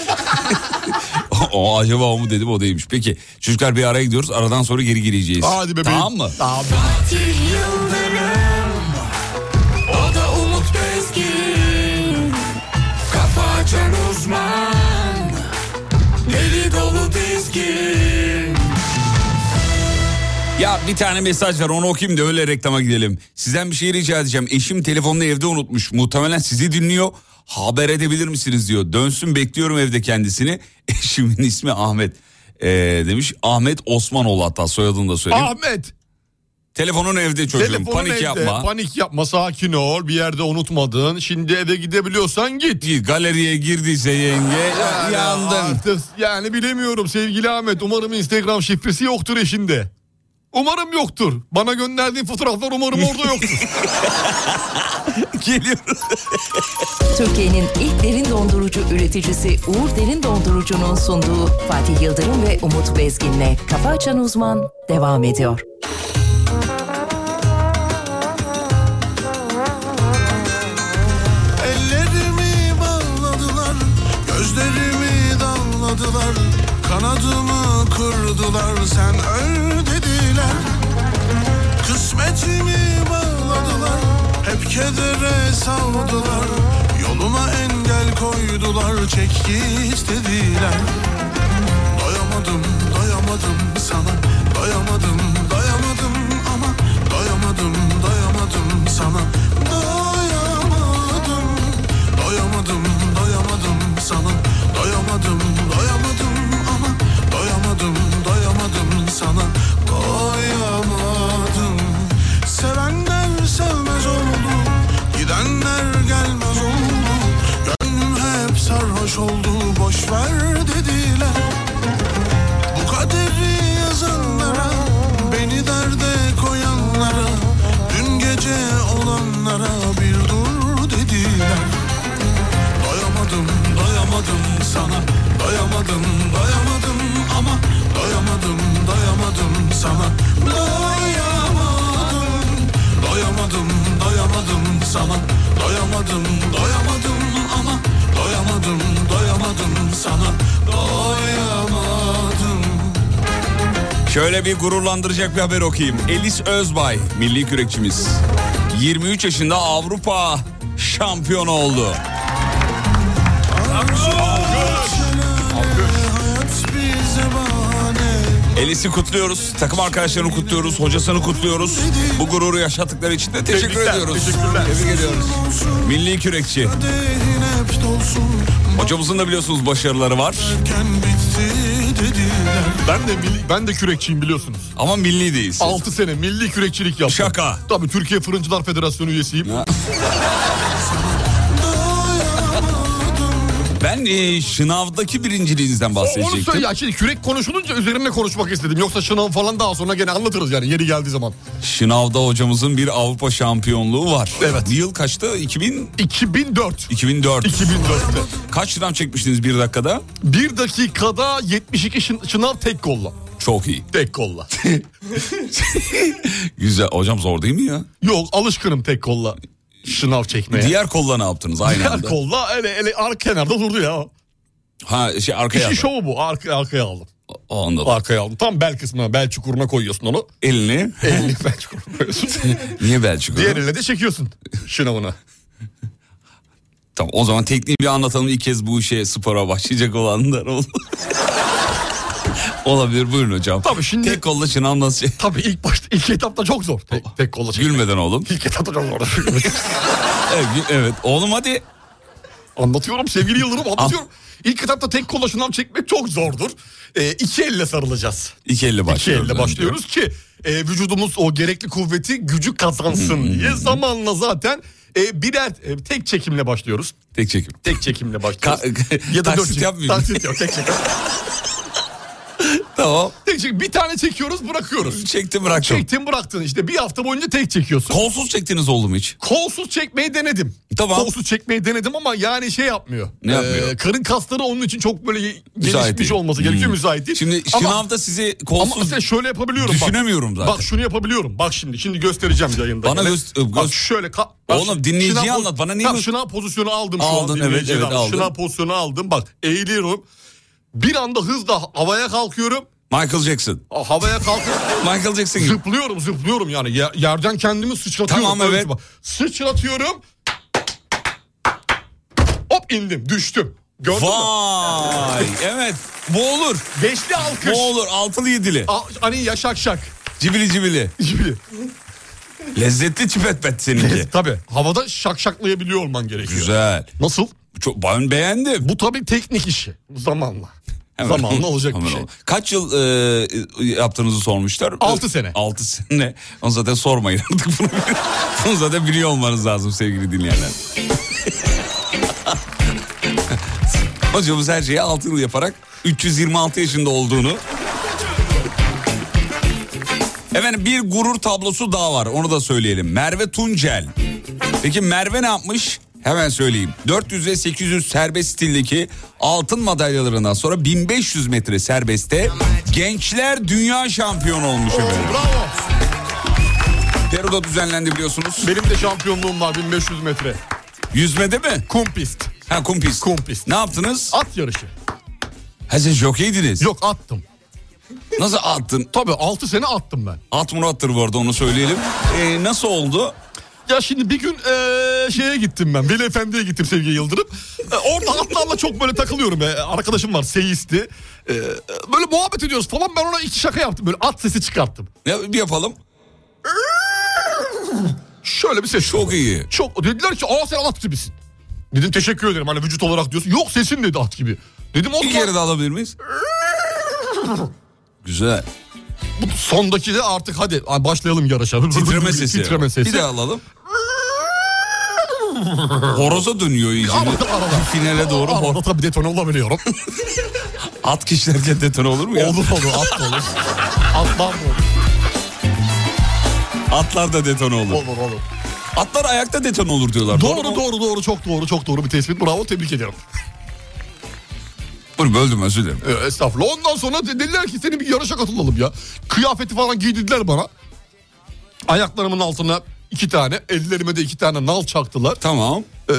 B: O- o acaba o mu dedim o değilmiş. Peki çocuklar bir araya gidiyoruz. Aradan sonra geri gireceğiz.
D: Hadi bebeğim.
B: Tamam mı?
D: Abi.
B: Ya bir tane mesaj var onu okuyayım da öyle reklama gidelim. Sizden bir şey rica edeceğim. Eşim telefonunu evde unutmuş. Muhtemelen sizi dinliyor. Haber edebilir misiniz diyor. Dönsün bekliyorum evde kendisini. Eşimin ismi Ahmet. Ee, demiş Ahmet Osmanoğlu hatta soyadını da söyleyeyim.
D: Ahmet.
B: Telefonun evde çocuğum
D: Telefonun
B: panik
D: evde.
B: yapma.
D: Panik yapma sakin ol. Bir yerde unutmadın. Şimdi eve gidebiliyorsan git.
B: Git, Galeriye girdiyse yenge ya- yandın.
D: Artık yani bilemiyorum sevgili Ahmet. Umarım Instagram şifresi yoktur eşinde. Umarım yoktur. Bana gönderdiğin fotoğraflar umarım orada yoktur.
B: Geliyoruz.
C: Türkiye'nin ilk derin dondurucu üreticisi Uğur Derin Dondurucu'nun sunduğu Fatih Yıldırım ve Umut Bezgin'le Kafa Açan Uzman devam ediyor.
G: Ellerimi bağladılar Gözlerimi damladılar Kanadımı kırdılar Sen öl dediler Kısmetimi bağladılar Hep kedere savdular Yoluma engel koydular Çek git dediler Doyamadım doyamadım sana Doyamadım doyamadım ama taş oldu boş ver dediler Bu kaderi yazanlara Beni derde koyanlara Dün gece olanlara bir dur dediler Doyamadım doyamadım sana Doyamadım doyamadım ama Doyamadım doyamadım sana Doyamadım Doyamadım doyamadım sana Doyamadım doyamadım ama Doyamadım doyamadım sana Doyamadım
B: Şöyle bir gururlandıracak bir haber okuyayım. Elis Özbay, milli kürekçimiz. 23 yaşında Avrupa şampiyonu oldu.
G: Hayat bize bahane
B: Elis'i kutluyoruz, takım arkadaşlarını kutluyoruz, hocasını kutluyoruz. Bu gururu yaşattıkları için de teşekkür
D: Tebrikler,
B: ediyoruz.
D: teşekkürler.
B: Tebrik ediyoruz. Milli kürekçi.
G: Kadehin hep dolsun
B: Hocamızın da biliyorsunuz başarıları var.
G: Ken bitti dediler
D: Ben de milli- ben de kürekçiyim biliyorsunuz.
B: Ama milli değiliz.
D: 6 sene milli kürekçilik yaptım.
B: Şaka.
D: Tabii Türkiye Fırıncılar Federasyonu üyesiyim.
B: Ben e, şınavdaki birinciliğinizden
D: Onu söyle
B: bahsedecektim.
D: ya şimdi kürek konuşulunca üzerine konuşmak istedim. Yoksa şınav falan daha sonra gene anlatırız yani yeri geldiği zaman.
B: Şınavda hocamızın bir Avrupa şampiyonluğu var.
D: Evet.
B: Yıl kaçtı? 2000
D: 2004.
B: 2004.
D: 2004'te.
B: Kaç şınav çekmiştiniz bir dakikada?
D: Bir dakikada 72 şın- şınav tek kolla.
B: Çok iyi.
D: Tek kolla.
B: Güzel. Hocam zor değil mi ya?
D: Yok alışkınım tek kolla şınav çekmeye. Diğer,
B: Diğer kolla ne yaptınız aynı anda?
D: kolla ele ele arka kenarda durdu ya.
B: Ha şey arkaya.
D: İşin
B: aldın.
D: şovu bu. Arka, arkaya aldım.
B: O anladım.
D: Arkaya aldım. Tam bel kısmına bel çukuruna koyuyorsun onu.
B: Elini.
D: Elini bel çukuruna koyuyorsun.
B: Niye Belçika?
D: Diğer elle de çekiyorsun şınavına.
B: Tamam o zaman tekniği bir anlatalım. İlk kez bu işe spora başlayacak olanlar oldu. Olabilir buyurun hocam.
D: Tabii şimdi-
B: Tek kolla şınav nasıl şey?
D: Tabii ilk başta ilk etapta çok zor. Tek, tek kolla çek.
B: Gülmeden oğlum.
D: İlk etapta çok zor.
B: Evet, gü- evet. oğlum hadi.
D: anlatıyorum sevgili Yıldırım
B: Ah.
D: anlatıyorum. İlk etapta tek kolla şınav çekmek çok zordur. Ee, iki elle sarılacağız.
B: İki elle
D: İki
B: başlıyoruz.
D: elle
B: önce.
D: başlıyoruz ki e, vücudumuz o gerekli kuvveti gücü kazansın
B: Hmm.
D: diye zamanla zaten e, birer e, tek çekimle başlıyoruz.
B: Tek çekim.
D: Tek çekimle başlıyoruz.
B: Ka- taksit
D: çekim.
B: yapmayayım.
D: Taksit yok tek çekim.
B: Tamam.
D: tek çekim. Bir tane çekiyoruz bırakıyoruz.
B: Çektim bıraktım.
D: Çektin bıraktın işte bir hafta boyunca tek çekiyorsun.
B: Kolsuz çektiniz oğlum hiç.
D: Kolsuz çekmeyi denedim.
B: Tamam.
D: Kolsuz çekmeyi denedim ama yani şey yapmıyor. Ee,
B: Ne yapmıyor?
D: karın kasları onun için çok böyle
B: Müsait
D: gelişmiş
B: değil.
D: olması gerekiyor
B: Hmm.
D: müsait değil.
B: Şimdi
D: Ama-
B: şınavda sizi
D: Ama
B: kolsuz
D: mesela şöyle yapabiliyorum. bak.
B: Düşünemiyorum zaten.
D: Bak şunu yapabiliyorum. Bak şimdi şimdi göstereceğim yayında.
B: Bana
D: Yani.
B: göz- e, göz-
D: Bak şöyle. ka- bak
B: Oğlum
D: şimdi
B: dinleyiciye
D: şınav poz-
B: anlat. Bana niye
D: Tamam,
B: gö-
D: şınav pozisyonu aldım
B: Aldın,
D: şu an.
B: evet,
D: dinleyiciden.
B: evet, aldın.
D: Şınav pozisyonu aldım. Bak eğiliyorum. Bir anda hızla havaya kalkıyorum.
B: Michael Jackson.
D: Ha- Havaya kalkıyorum.
B: Michael Jackson gibi.
D: zıplıyorum zıplıyorum yani. Yer- yerden kendimi sıçratıyorum.
B: Tamam,
D: Böyle
B: evet.
D: bak. Sıçratıyorum. Hop indim düştüm. Gördün mü?
B: Vay. Evet. Bu olur.
D: Beşli alkış.
B: Bu olur. Altılı yedili.
D: A- hani yaşak şak.
B: Cibili cibili.
D: gibi. E,
B: Lezzetli çipet pet seninki.
D: Tabii havada şakşaklayabiliyor olman gerekiyor.
B: Güzel.
D: Nasıl?
B: Çok, ben beğendim.
D: Bu tabii teknik işi. Zamanla.
B: Hemen-
D: Zamanla olacak
B: Hemen
D: bir şey.
B: olur. Kaç yıl e, yaptığınızı sormuşlar.
D: Altı sene.
B: 6 sene. Onu zaten sormayın artık bunu. bunu zaten biliyor olmanız lazım sevgili dinleyenler. Hocamız her şeyi 6 yıl yaparak 326 yaşında olduğunu. Efendim bir gurur tablosu daha var onu da söyleyelim. Merve Tuncel. Peki Merve ne yapmış? Hemen söyleyeyim. 400 ve 800 serbest stildeki altın madalyalarından sonra 1500 metre serbestte gençler dünya şampiyonu olmuş efendim.
D: Bravo.
B: Peru'da düzenlendi biliyorsunuz.
D: Benim de şampiyonluğum var 1500 metre.
B: Yüzmede mi?
D: Kum pist.
B: Ha kumpis.
D: Kum pist.
B: Ne yaptınız?
D: At yarışı.
B: Ha siz jokeydiniz.
D: Yok attım.
B: Nasıl attın?
D: Tabii 6 sene attım ben.
B: At Murat'tır bu arada onu söyleyelim. Ee, nasıl oldu?
D: Ya şimdi bir gün eee, şeye gittim ben. Veli Efendi'ye gittim sevgili Yıldırım. E, orada atlarla çok böyle takılıyorum. E, arkadaşım var seyisti. E, böyle muhabbet ediyoruz falan. Ben ona iki şaka yaptım. Böyle at sesi çıkarttım.
B: Ne bir yapalım?
D: Şöyle bir ses.
B: Çok iyi.
D: Çok dediler ki aa sen at gibisin. Dedim teşekkür ederim hani vücut olarak diyorsun. Yok sesin dedi at gibi. Dedim o
B: Bir
D: zaman
B: kere de alabilir miyiz? Güzel.
D: bu sondaki de artık hadi ay, başlayalım yarışa.
B: Titreme sesi.
D: Titreme sesi.
B: Bir de alalım. Horoza dönüyor iyice.
D: Ama arada.
B: Finale doğru
D: Arada
B: hor-
D: tabii detone olabiliyorum.
B: at kişilerken detone olur mu ya?
D: olur olur at da olur. Atlar da olur.
B: Atlar da detone olur.
D: Olur olur.
B: Atlar ayakta detone olur diyorlar.
D: Doğru
B: mu?
D: doğru doğru çok doğru çok doğru bir tespit. Bravo tebrik ediyorum.
B: Bunu böldüm özür dilerim.
D: Ee, estağfurullah. Ondan sonra dediler ki seni bir yarışa katılalım ya. Kıyafeti falan giydirdiler bana. Ayaklarımın altına iki tane, ellerime de iki tane nal çaktılar.
B: Tamam.
D: Ee,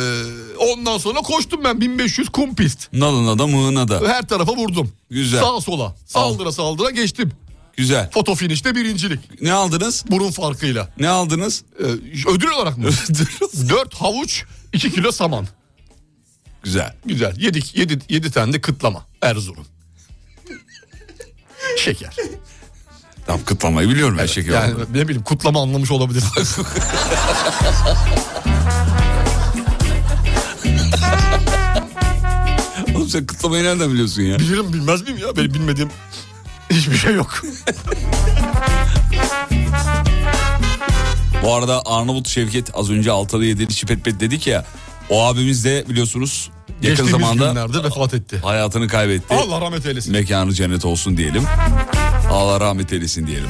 D: ondan sonra koştum ben 1500 kum pist.
B: Nalına da mığına da.
D: Her tarafa vurdum.
B: Güzel.
D: Sağa sola. Saldıra saldıra geçtim.
B: Güzel.
D: Foto finişte birincilik.
B: Ne aldınız?
D: Burun farkıyla.
B: Ne aldınız?
D: Ee, ödül olarak mı? 4 havuç, 2 kilo saman.
B: Güzel.
D: Güzel. Yedik. Yedi, yedi tane de kıtlama. Erzurum. Şeker.
B: Tam kıtlamayı biliyorum ben şeker
D: Yani
B: olarak.
D: ne bileyim kutlama anlamış olabilir.
B: Oğlum sen kıtlamayı nereden biliyorsun ya?
D: Bilirim bilmez miyim ya? Benim bilmediğim hiçbir şey yok.
B: Bu arada Arnavut Şevket az önce altıda yedili çipet pet dedik ya. O abimiz de biliyorsunuz yakın
D: Geçtiğimiz
B: zamanda
D: günlerde vefat etti.
B: hayatını kaybetti.
D: Allah rahmet eylesin.
B: Mekanı cennet olsun diyelim. Allah rahmet eylesin diyelim.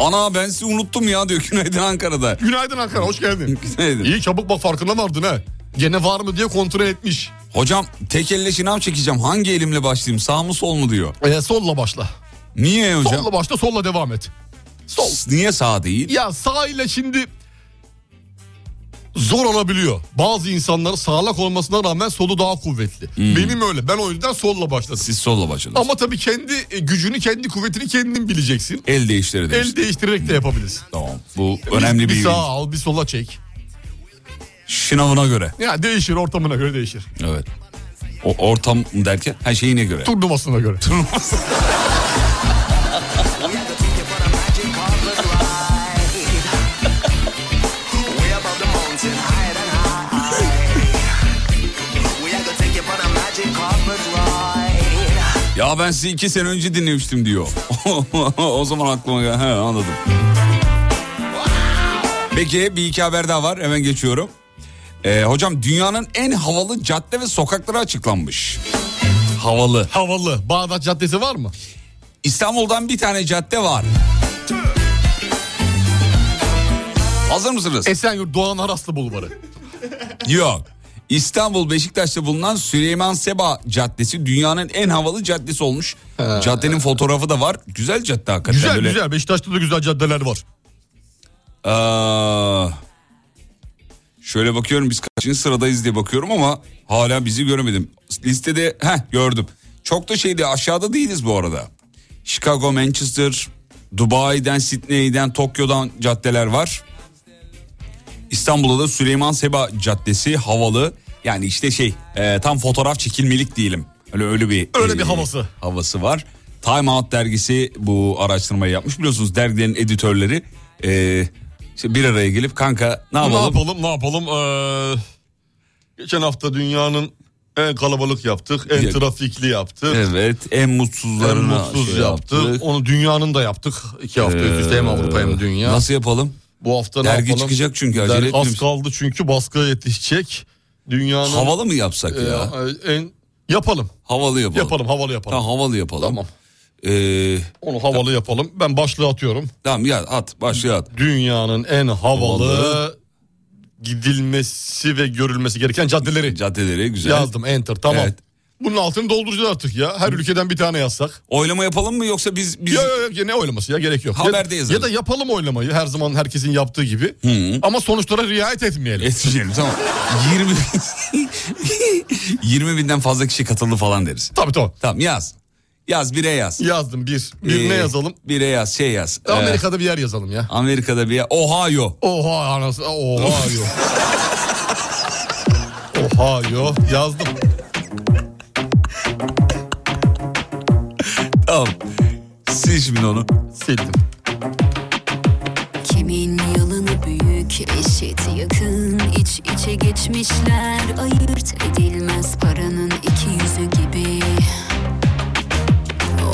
B: Ana ben sizi unuttum ya diyor Günaydın Ankara'da.
D: Günaydın Ankara hoş geldin.
B: Günaydın.
D: İyi çabuk bak farkına vardın ha. Gene var mı diye kontrol etmiş.
B: Hocam tek elle şınav çekeceğim hangi elimle başlayayım sağ mı sol mu diyor.
D: E, solla başla.
B: Niye hocam?
D: Solla başla solla devam et. Sol.
B: S- Niye sağ değil?
D: Ya sağ ile şimdi zor olabiliyor. Bazı insanların sağlak olmasına rağmen solu daha kuvvetli. Benim öyle. Ben o yüzden solla başladım.
B: Hmm. Siz solla başladınız.
D: Ama tabii kendi e, gücünü, kendi kuvvetini kendin bileceksin.
B: El değiştirir
D: El değiştirerek de yapabilirsin.
B: Tamam bu önemli
D: bir,
B: bir
D: sağa al, bir sola çek.
B: şınavına göre.
D: Ya değişir ortamına göre değişir.
B: Evet. O ortam derken her şeyine göre.
D: Turnuvasına göre.
B: Ya ben sizi iki sene önce dinlemiştim diyor. o zaman aklıma geldi. He, anladım. Peki bir iki haber daha var. Hemen geçiyorum. Ee, hocam dünyanın en havalı cadde ve sokakları açıklanmış. Havalı.
D: Havalı. Bağdat Caddesi var mı?
B: İstanbul'dan bir tane cadde var. Hazır mısınız?
D: Esenyurt Doğan Araslı Bulvarı.
B: Yok. İstanbul Beşiktaş'ta bulunan Süleyman Seba Caddesi dünyanın en havalı caddesi olmuş. Caddenin fotoğrafı da var. Güzel cadde hakikaten.
D: Güzel
B: Böyle,
D: güzel. Beşiktaş'ta da güzel caddeler var.
B: Aa, şöyle bakıyorum biz kaçıncı sıradayız diye bakıyorum ama hala bizi göremedim. Listede heh gördüm. Çok da şeydi aşağıda değiliz bu arada. Chicago, Manchester, Dubai'den, Sydney'den, Tokyo'dan caddeler var. İstanbul'da da Süleyman Seba Caddesi havalı. Yani işte şey e, tam fotoğraf çekilmelik diyelim. Öyle öyle bir e,
D: Öyle bir havası.
B: havası var. Time Out dergisi bu araştırmayı yapmış. Biliyorsunuz dergilerin editörleri e, işte bir araya gelip kanka ne
D: Ne
B: yapalım?
D: yapalım ne yapalım? Ee, geçen hafta dünyanın en kalabalık yaptık. En
B: Ya-
D: trafikli yaptık.
B: Evet en
D: En
B: mutsuzlarına
D: mutsuz
B: şey Ee,
D: yaptık. Onu dünyanın da yaptık. İki hafta üst üste hem Avrupa hem dünya.
B: Nasıl yapalım?
D: Bu hafta ne
B: Dergi
D: yapalım?
B: çıkacak çünkü
D: Der-
B: acele
D: Az
B: etmiyoruz.
D: kaldı çünkü baskı yetişecek. Dünyanın
B: Havalı mı yapsak
D: e,
B: ya?
D: en yapalım.
B: Havalı yapalım.
D: Yapalım havalı yapalım.
B: Tamam havalı yapalım.
D: Tamam.
B: Ee,
D: Onu havalı yapalım. Ben başlığı atıyorum.
B: tamam ya at başla at.
D: Dünyanın en havalı,
B: Havalı.
D: gidilmesi ve görülmesi gereken caddeleri
B: Caddeleri güzel.
D: yazdım. Enter tamam.
B: Evet.
D: Bunun altını dolduracağız artık ya. Her ülkeden bir tane yazsak.
B: Oylama yapalım mı yoksa biz biz
D: Ya, ya, ya, ne oylaması ya gerek yok.
B: Haberde
D: ya,
B: yazarız.
D: ya da yapalım oylamayı her zaman herkesin yaptığı gibi. Ama sonuçlara riayet etmeyelim.
B: etmeyelim tamam. 20 20 binden fazla kişi katıldı falan deriz.
D: Tabii tabii.
B: Tamam yaz. Yaz bire yaz.
D: Yazdım bir. Bir
B: Ee,
D: ne yazalım?
B: Bire yaz şey yaz. Ee,
D: Amerika'da bir yer yazalım ya.
B: Amerika'da bir yer. Ohio.
D: Oha anası. Oha yo. Oha yo. Yazdım.
B: Tamam. Sil şimdi onu.
D: Sildim.
F: Kimin yılını büyük eşit yakın iç içe geçmişler ayırt edilmez paranın iki yüzü gibi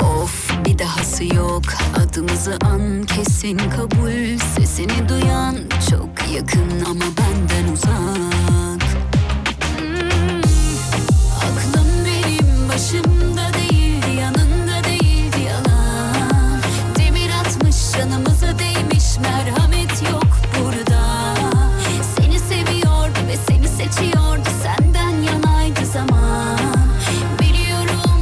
F: Of bir dahası yok adımızı an kesin kabul sesini duyan çok Yakın ama benden uzak Hmm. Aklım benim başımda değildi yanında değildi yalan Demir atmış canımıza değmiş merhamet yok burada Seni seviyordu ve seni seçiyordu senden yanaydı zaman Biliyorum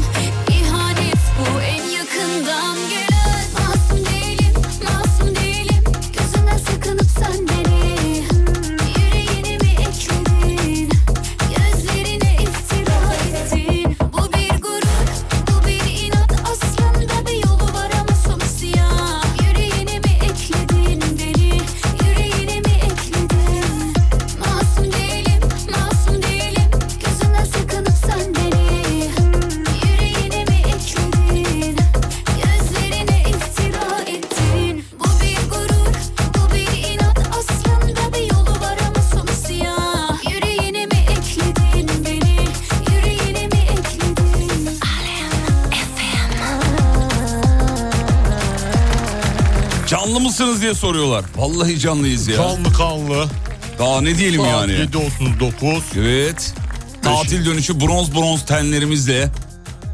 F: ihanet bu en yakından gelen Masum değilim masum değilim gözünden sakınıp sen beni Yüreğini mi ekledin Gözlerine iftira ettin Bu bir gurur, bu bir inat Aslında bir yolu var ama sonu siyah Yüreğine mi ekledin deli Yüreğine mi ekledin Masum değilim, masum değilim Gözünden sakınıp sen beni Yüreğine mi ekledin Gözlerine iftira ettin Bu bir gurur, bu bir inat Aslında bir yolu var ama sonu siyah Yüreğine mi ekledin beni Yüreğine mi ekledin Alem
B: Canlı mısınız diye soruyorlar. Vallahi canlıyız ya.
D: Kanlı kanlı.
B: Daha ne diyelim
D: Saat
B: yani.
D: 7.39.
B: Evet. Tatil dönüşü bronz bronz tenlerimizle.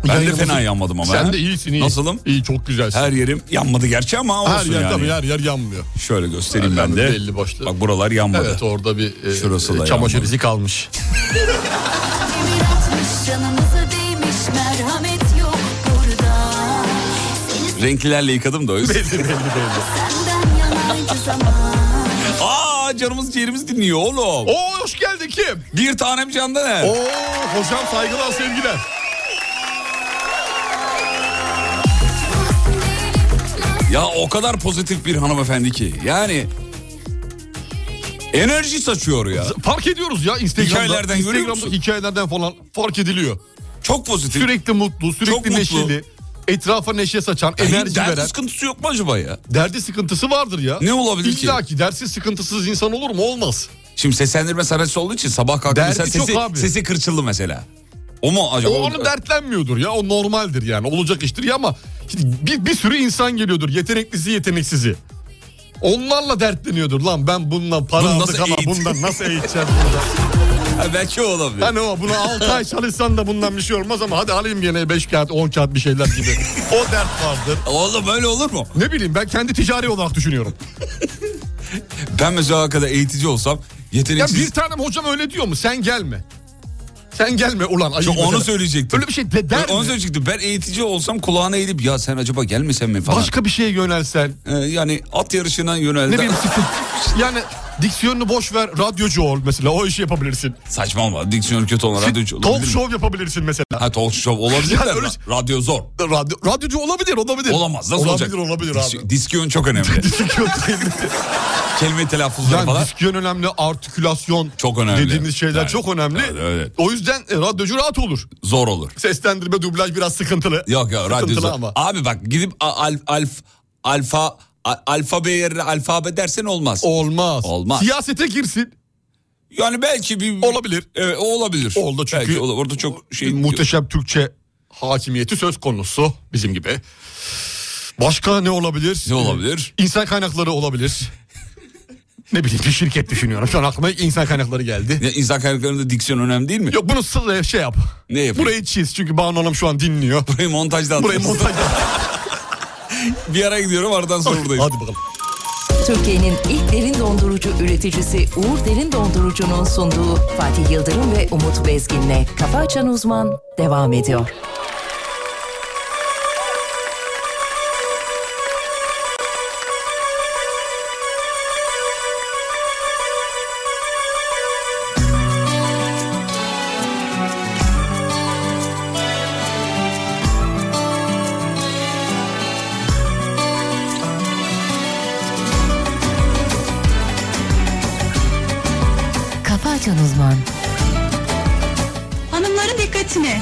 B: Ben
D: Yayınımızı-
B: de fena yanmadım ama.
D: Sen
B: ha?
D: de iyisin iyi.
B: Nasılım?
D: İyi çok güzelsin. Her,
B: Her yerim yanmadı gerçi ama olsun
D: yer
B: yani.
D: tabii her yer yanmıyor.
B: Şöyle göstereyim
D: Her
B: ben de.
D: yer belli başlı.
B: Bak buralar yanmadı.
D: Evet orada bir e,
B: Şurası da
D: çamaşır
B: yanmadı.
D: izi kalmış.
F: Demir atmış canımıza değmiş Merhamet yok burada Seni
B: Renklilerle yıkadım da o yüzden.
F: senden yanaydı zaman
B: Aa canımız ciğerimiz dinliyor oğlum.
D: Oo hoş geldin kim?
B: Bir tanem er. candaner.
D: Oo hocam saygılar sevgiler.
B: Ya o kadar pozitif bir hanımefendi ki. Yani enerji saçıyor ya.
D: Fark ediyoruz ya Instagram'da.
B: Hikayelerden görüyor
D: Instagram'da
B: musun?
D: hikayelerden falan fark ediliyor.
B: Çok pozitif.
D: Sürekli mutlu, sürekli
B: Çok mutlu.
D: neşeli. Etrafa neşe saçan,
B: Yani
D: enerji
B: E, dert
D: veren.
B: sıkıntısı yok mu acaba ya?
D: Derdi sıkıntısı vardır ya.
B: Ne olabilir ki?
D: İlla ki dersiz sıkıntısız insan olur mu? Olmaz.
B: Şimdi seslendirme sanatçısı olduğu için sabah kalktı
D: Derdi
B: mesela
D: çok
B: sesi,
D: abi.
B: sesi kırçıldı mesela. O mu acaba?
D: O onu dertlenmiyordur ya. O normaldir yani. Olacak iştir ya ama şimdi bir, bir sürü insan geliyordur. Yeteneklisi yeteneksizi. Onlarla dertleniyordur lan ben bundan para
B: Bunu
D: aldık
B: nasıl
D: ama
B: eğit-
D: bundan nasıl eğiteceğim burada.
B: Ha, belki o olabilir.
D: Hani o bunu 6 ay çalışsan da bundan bir şey olmaz ama hadi alayım gene 5 kağıt 10 kağıt bir şeyler gibi. o dert vardır.
B: Oğlum öyle olur mu?
D: Ne bileyim ben kendi ticari olarak düşünüyorum.
B: Ben mesela o kadar eğitici olsam
D: Ya
B: yeteneksiz...
D: bir tanem hocam öyle diyor mu? Sen gelme. Sen gelme ulan. ayı
B: Şu onu
D: mesela.
B: söyleyecektim.
D: Öyle bir şey de der
B: Ben onu
D: mi?
B: söyleyecektim. Ben eğitici olsam kulağına eğilip ya sen acaba gelmesen mi falan.
D: Başka bir şeye yönelsen.
B: Ee, yani at yarışına yöneldi.
D: Ne bileyim sıkıntı. Yani diksiyonunu boş ver radyocu ol mesela o işi yapabilirsin.
B: Saçma olma. Diksiyon kötü olan radyo
D: Talk
B: olabilir mi?
D: show yapabilirsin mesela.
B: Ha talk show olabilir
D: Yani
B: de
D: öyle- şey-
B: ra- radyo zor.
D: Radyo, radyocu olabilir olabilir.
B: Olamaz. Nasıl
D: olabilir,
B: olacak?
D: Olabilir
B: Dis-
D: olabilir abi.
B: Diksiyon çok önemli.
D: Diksiyon önemli.
B: Kelime telaffuzları
D: yani
B: falan.
D: diksiyon önemli, artikülasyon
B: Çok önemli.
D: dediğimiz şeyler
B: Evet,
D: çok önemli.
B: evet, evet.
D: O yüzden e, radyocu rahat olur.
B: Zor olur.
D: Seslendirme, dublaj biraz sıkıntılı.
B: Yok ya radyo
D: Sıkıntılı
B: zor.
D: ama.
B: Abi bak gidip a- alf, alf, alfa a- alfabe yerine alfabe dersen olmaz.
D: Olmaz.
B: Olmaz.
D: Siyasete girsin.
B: yani belki bir...
D: Olabilir.
B: Evet o olabilir.
D: Oldu çünkü-
B: Belki ola- orada çok şey...
D: Muhteşem Türkçe hakimiyeti söz konusu bizim gibi. Başka ne olabilir?
B: Ne olabilir?
D: İnsan kaynakları olabilir. ne bileyim bir şirket düşünüyorum. Şu an aklıma insan kaynakları geldi.
B: Ne, insan kaynaklarında diksiyon önemli değil mi?
D: Yok bunu sı- şey yap.
B: Ne yapayım?
D: Burayı çiz çünkü Banu Hanım şu an dinliyor.
B: Burayı montajdan
D: Burayı montaj
B: Bir ara gidiyorum aradan sonra buradayım.
D: Hadi bakalım.
C: Türkiye'nin ilk derin dondurucu üreticisi Uğur Derin Dondurucu'nun sunduğu Fatih Yıldırım ve Umut Bezgin'le Kafa Açan Uzman devam ediyor. Kafa Açan Uzman
H: Hanımların dikkatine.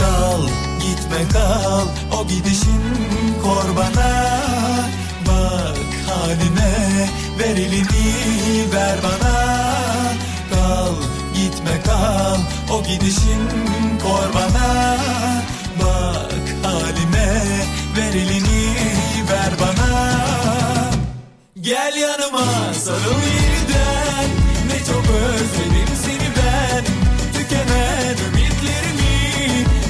I: Kal, gitme kal, o gidişin korbana Bak Ver elini ver bana Kal gitme kal O gidişin korbana Bak halime Ver elini ver bana Gel yanıma sarıl yeniden Ne çok özledim seni ben Tükenen ümitlerimi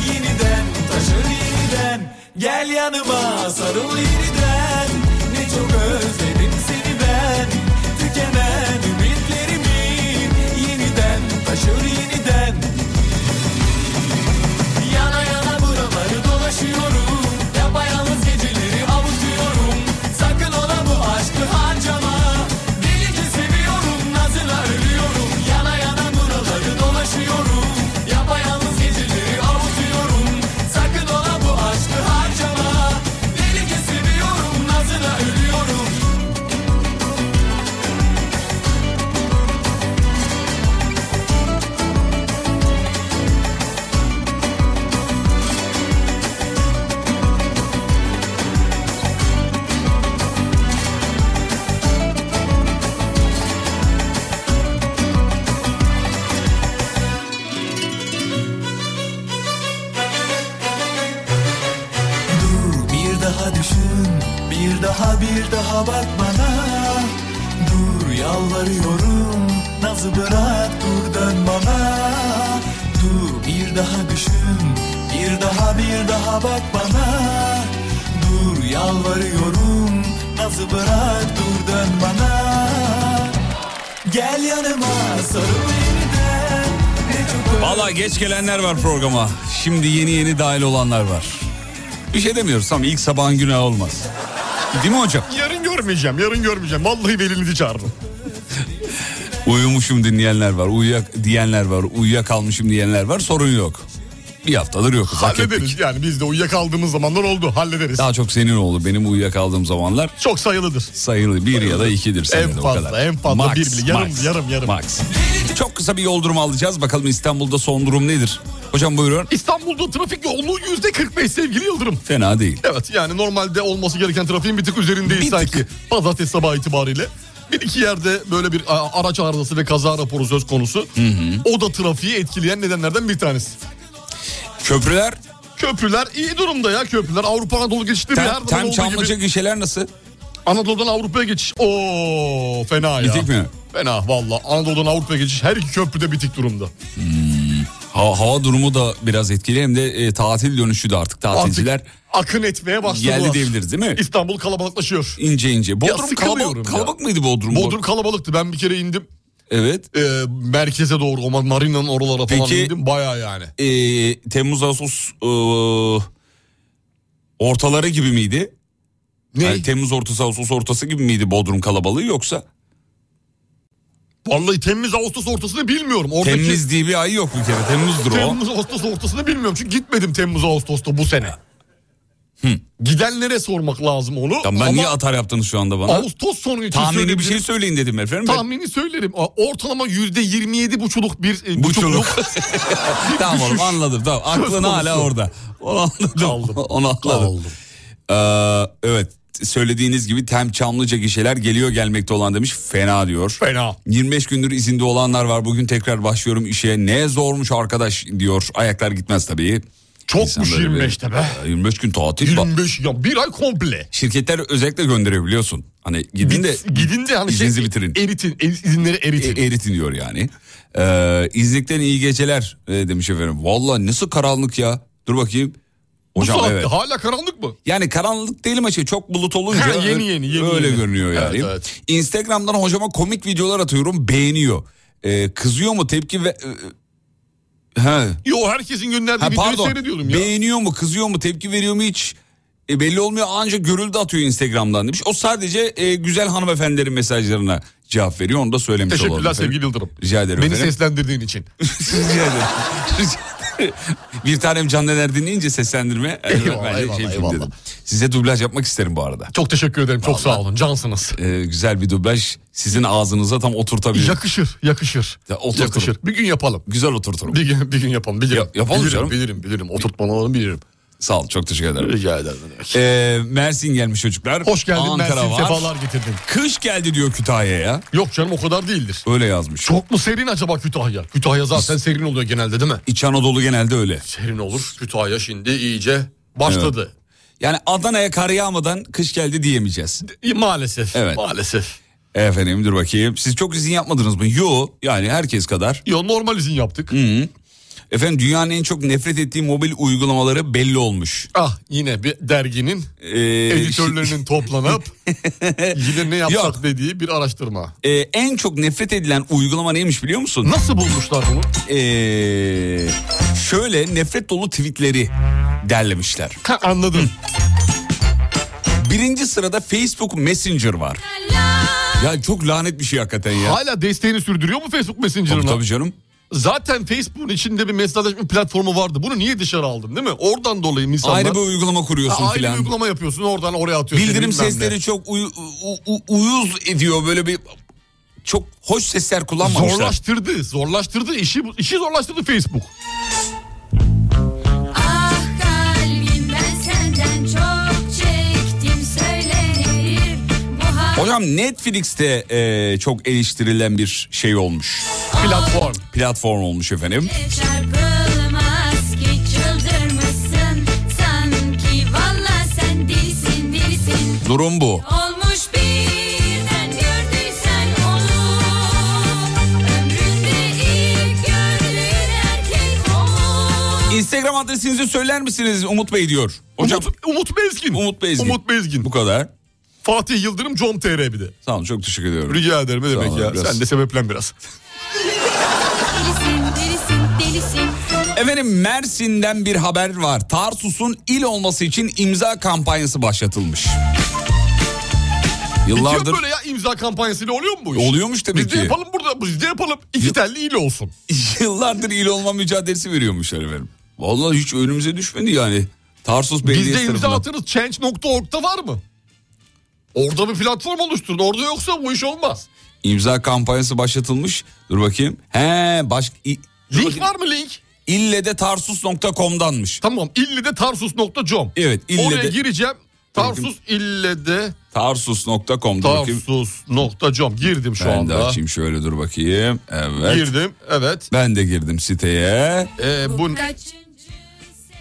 I: Yeniden taşır yeniden Gel yanıma sarıl yeniden Ne çok özledim seni ben Tükenen ümitlerimi Yeniden taşır yeniden Yana yana buraları dolaşıyorum Yapayalnız geceleri avutuyorum Sakın ola bu aşkı harcama Delice seviyorum nazına ölüyorum Yana yana buraları dolaşıyorum Yapayalnız geceleri avutuyorum Sakın ola bu aşkı harcama Delice seviyorum nazına ölüyorum Dur bir daha düşün Bir daha bir daha bak bana Dur yalvarıyorum Nazı bırak dur dön bana Dur bir daha düşün Bir daha bir daha bak bana Dur yalvarıyorum Nazı bırak dur dön bana Gel yanıma sarıl yeniden Ne çok özledim
B: Valla geç gelenler var programa. Şimdi yeni yeni dahil olanlar var. Bir şey demiyoruz ama ilk sabahın günahı olmaz. Değil mi hocam?
D: Yarın görmeyeceğim, yarın görmeyeceğim. Vallahi velinizi çağırırım.
B: Uyumuşum dinleyenler var, uyuyak diyenler var, uyuyakalmışım diyenler var. Sorun yok. Bir haftadır yok. Hak ettik.
D: Hallederiz yani biz de uyuyakaldığımız zamanlar oldu. Hallederiz.
B: Daha çok senin oldu benim uyuyakaldığım zamanlar.
D: Çok sayılıdır.
B: sayılı bir ya da ikidir senede
D: En
B: o
D: fazla,
B: kadar.
D: en fazla bir bile. Yarım, yarım, yarım.
B: Max. Çok kısa bir yol durumu alacağız. Bakalım İstanbul'da son durum nedir? Hocam buyurun.
D: İstanbul'da trafik yoğunluğu yüzde 45 sevgili Yıldırım.
B: Fena değil.
D: Evet yani normalde olması gereken trafiğin bir tık üzerindeyiz
B: Bir tık.
D: sanki. Pazartesi sabahı itibariyle. Bir iki yerde böyle bir a- araç arızası ve kaza raporu söz konusu. O da trafiği etkileyen nedenlerden bir tanesi.
B: Köprüler,
D: Köprüler iyi durumda ya köprüler. Avrupa Anadolu geçişleri her
B: tem,
D: zaman
B: tem
D: olduğu
B: Çamlıca
D: gibi.
B: gişeler nasıl?
D: Anadolu'dan Avrupa'ya geçiş. Oo fena ya.
B: Bitik mi?
D: Fena valla. Anadolu'dan Avrupa'ya geçiş her iki köprüde bitik durumda.
B: Ha, hava durumu da biraz etkili hem de e, tatil dönüşü de artık
D: Artık
B: tatilciler
D: akın etmeye başladılar.
B: geldi diyebiliriz değil mi?
D: İstanbul kalabalıklaşıyor.
B: İnce ince. Bodrum
D: sıkılıyorum
B: kalabalık,
D: ya.
B: kalabalık mıydı Bodrum?
D: Bodrum kalabalıktı. Ben bir kere indim.
B: Evet.
D: e, merkeze doğru o Marina'nın oralara falan
B: Peki-
D: indim baya yani.
B: E, Temmuz Ağustos e, ortaları gibi miydi?
D: Ne?
B: Yani Temmuz ortası Ağustos ortası gibi miydi Bodrum kalabalığı yoksa?
D: Vallahi Temmuz Ağustos ortasını bilmiyorum. Oradaki
B: Temmuz diye bir ay yok bir kere. Temmuz'dur o.
D: Temmuz Ağustos ortasını bilmiyorum. Çünkü gitmedim Temmuz Ağustos'ta bu sene. Gidenlere sormak lazım onu.
B: Tamam, ben
D: Ama
B: niye atar yaptınız şu anda bana?
D: Ağustos sonu için
B: Tahmini bir şey
D: söyleyebilirim.
B: söyleyin dedim efendim. Ben-
D: Tahmini söylerim. A- Ortalama yüzde yirmi yedi buçuluk bir e,
B: Buçuluk.
D: bir
B: tamam oğlum
D: düşüş.
B: anladım tamam. Aklın
D: konusu.
B: hala orada. Onu anladım.
D: Kaldım.
B: Onu anladım.
D: Kaldım.
B: Ee, evet söylediğiniz gibi Tem Çamlıca gişeler geliyor gelmekte olan demiş. Fena diyor.
D: Fena.
B: 25 gündür izinde olanlar var. Bugün tekrar başlıyorum işe. Ne zormuş arkadaş diyor. Ayaklar gitmez tabii. İnsan
D: Çokmuş
B: böyle bir-
D: 25'te be.
B: Ee, 25 gün tatil. Bak,
D: 25 ya bir ay komple.
B: Şirketler özellikle gönderebiliyorsun. Hani gidin de
D: Git- gidin de hani
B: İzninizi bitirin.
D: Eritin. el- izinleri eritin.
B: E, eritin diyor yani. Ee, İznik'ten iyi geceler e, demiş efendim. Valla nasıl karanlık ya. Dur bakayım.
D: bu
B: Hocam
D: saatte
B: evet.
D: hala karanlık mı?
B: Yani karanlık değil ama şey çok bulut olunca
D: Ha, yeni
B: öyle-
D: yeni, yeni
B: öyle
D: yeni.
B: görünüyor yani.
D: Evet, evet.
B: Instagram'dan hocama komik videolar atıyorum beğeniyor. Ee, kızıyor mu tepki ve... e, He.
D: Yo herkesin gönderdiği
B: Ha,
D: videoyu
B: pardon.
D: seyrediyorum ya.
B: Beğeniyor mu, kızıyor mu, tepki veriyor mu hiç e, belli olmuyor. Ancak görüldü atıyor Instagram'dan demiş. O sadece e, güzel hanımefendilerin mesajlarına cevap veriyor. Onu da söylemiş olalım.
D: Teşekkürler
B: efendim.
D: sevgili Yıldırım.
B: Rica ederim
D: Beni
B: efendim.
D: seslendirdiğin için.
B: Rica ederim. Rica ederim. bir tanem Can Dener dinleyince seslendirme. yani
D: Eyvallah,
B: ben de
D: eyvallah,
B: yapayım
D: eyvallah.
B: dedim. Size dublaj yapmak isterim bu arada.
D: Çok teşekkür ederim. Çok sağ olun. Cansınız.
B: Ee, güzel bir dublaj sizin ağzınıza tam oturtabilirim.
D: Yakışır, yakışır.
B: Ee, Ya, oturturum.
D: yakışır. Bir gün yapalım.
B: güzel oturturum.
D: Bir gün, bir gün yapalım. Bilirim.
B: Ya- yapalım
D: bilirim,
B: canım.
D: bilirim, bilirim. Oturtmalarını bilirim.
B: Sağ ol çok teşekkür ederim.
D: Rica ederim.
B: Ee, Mersin gelmiş çocuklar.
D: Hoş geldin
B: Ankara
D: Mersin.
B: var.
D: Sefalar getirdin.
B: Kış geldi diyor Kütahya'ya.
D: Yok canım o kadar değildir.
B: Öyle yazmış.
D: Çok mu serin acaba Kütahya? Kütahya zaten serin oluyor genelde değil mi?
B: İç Anadolu genelde öyle.
D: Serin olur. Kütahya şimdi iyice başladı.
B: Yani Adana'ya kar yağmadan kış geldi diyemeyeceğiz.
D: İyi, Maalesef.
B: Evet.
D: Maalesef.
B: Efendim dur bakayım. Siz çok izin yapmadınız mı? Yo yani herkes kadar.
D: Yo normal izin yaptık.
B: Hmm. Efendim dünyanın en çok nefret ettiği mobil uygulamaları belli olmuş.
D: Ah yine bir derginin
B: Ee,
D: editörlerinin toplanıp yine ne yapsak
B: Yok.
D: dediği bir araştırma.
B: Ee, en çok nefret edilen uygulama neymiş biliyor musun?
D: Nasıl bulmuşlar bunu?
B: Ee, şöyle nefret dolu tweetleri derlemişler.
D: Ha, anladım.
B: Birinci sırada Facebook Messenger var. Ya çok lanet bir şey hakikaten ya.
D: Hala desteğini sürdürüyor mu Facebook Messenger'ına?
B: Tabii, tabii canım.
D: Zaten Facebook'un içinde bir mesajlaşma platformu vardı. Bunu niye dışarı aldın değil mi? Oradan dolayı insanlar...
B: Ayrı bir uygulama
D: Ha,
B: kuruyorsun
D: ayrı bir
B: filan.
D: uygulama yapıyorsun oradan oraya atıyorsun.
B: Bildirim
D: bilmem ne.
B: sesleri çok uyu- u- u- uyuz ediyor böyle bir çok hoş sesler kullanmamışlar.
D: Zorlaştırdı, zorlaştırdı. işi işi zorlaştırdı Facebook.
F: Ah kalbim ben senden çok çektim söylenir bu hal
B: Hocam Netflix'te e, çok eleştirilen bir şey olmuş.
D: Platform.
B: Platform olmuş efendim.
F: çarpılmaz ki çıldırmışsın sanki valla sen delisin delisin
B: Durum bu.
F: olmuş birden gördüysen onu ömründe ilk gördüğün erkek o.
B: Instagram adresinizi söyler misiniz Umut Bey diyor. Hocam
D: Umut, Umut Bezgin.
B: Umut Bezgin.
D: Umut Bezgin.
B: bu kadar.
D: Fatih Yıldırım, Com.tr bir de.
B: Sağ olun çok teşekkür ediyorum.
D: Rica ederim ne
B: Sağ
D: demek
B: olun,
D: ya.
B: biraz.
D: Sen de sebeplen biraz.
F: Delisin, delisin, delisin.
B: Efendim Mersin'den bir haber var. Tarsus'un il olması için imza kampanyası başlatılmış.
D: Bitiyor
B: Yıllardır
D: böyle ya imza kampanyasıyla oluyor mu bu iş?
B: Oluyormuş tabii
D: biz
B: ki.
D: de yapalım burada, biz de yapalım. İki telli il olsun.
B: yıllardır il olma mücadelesi veriyormuşlar efendim. Vallahi hiç önümüze düşmedi yani. Tarsus Belediyesi
D: Biz de imza
B: tarafından.
D: atırız. Change.org'da var mı? Orada bir platform oluşturun. Orada yoksa bu iş olmaz.
B: İmza kampanyası başlatılmış. Dur bakayım. He baş... i- Dur
D: Link
B: bakayım.
D: var mı link?
B: İlle de tarsus.com'danmış.
D: Tamam illi'de tarsus.com.
B: Evet ille
D: Oraya
B: de
D: gireceğim. Tarsus illede
B: tarsus.com. Dur bakayım.
D: tarsus.com girdim şu
B: Ben de
D: anda.
B: açayım şöyle dur bakayım. Evet.
D: Girdim evet.
B: Ben de girdim siteye.
D: Ee, bu
F: Kaçıncı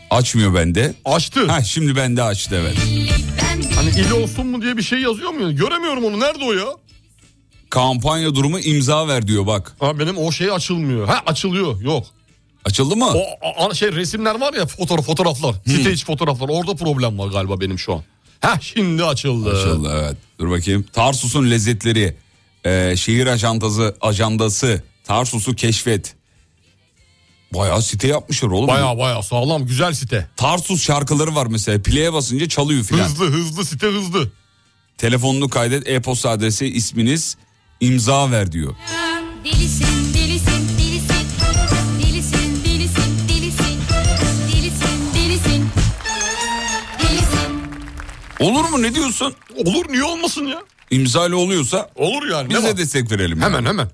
B: Açmıyor bende.
D: açtı.
B: Ha şimdi bende açtı evet.
F: ben
D: Hani il olsun mu diye bir şey yazıyor mu? Göremiyorum onu. Nerede o ya?
B: Kampanya durumu imza ver diyor bak.
D: Ha benim o şey açılmıyor. Ha açılıyor. Yok.
B: Açıldı mı?
D: O a- a- şey resimler var ya fotoğraf fotoğraflar.
B: Hmm.
D: Site içi fotoğraflar. Orada problem var galiba benim şu an. Ha şimdi açıldı.
B: Açıldı evet. Dur bakayım. Tarsus'un lezzetleri. Ee, şehir ajantası, ajandası. Tarsus'u keşfet. Bayağı site yapmışlar oğlum.
D: Baya baya sağlam güzel site.
B: Tarsus şarkıları var mesela. Play'e basınca çalıyor filan.
D: Hızlı hızlı site hızlı.
B: Telefonunu kaydet, e-posta adresi, isminiz, imza ver diyor.
F: delisin, delisin, delisin. Delisin, delisin, delisin. Delisin, delisin. Delisin.
B: Olur mu ne diyorsun?
D: Olur niye olmasın ya?
B: İmzalı oluyorsa
D: Olur yani.
B: biz
D: ne var?
B: de destek verelim.
D: Hemen hemen.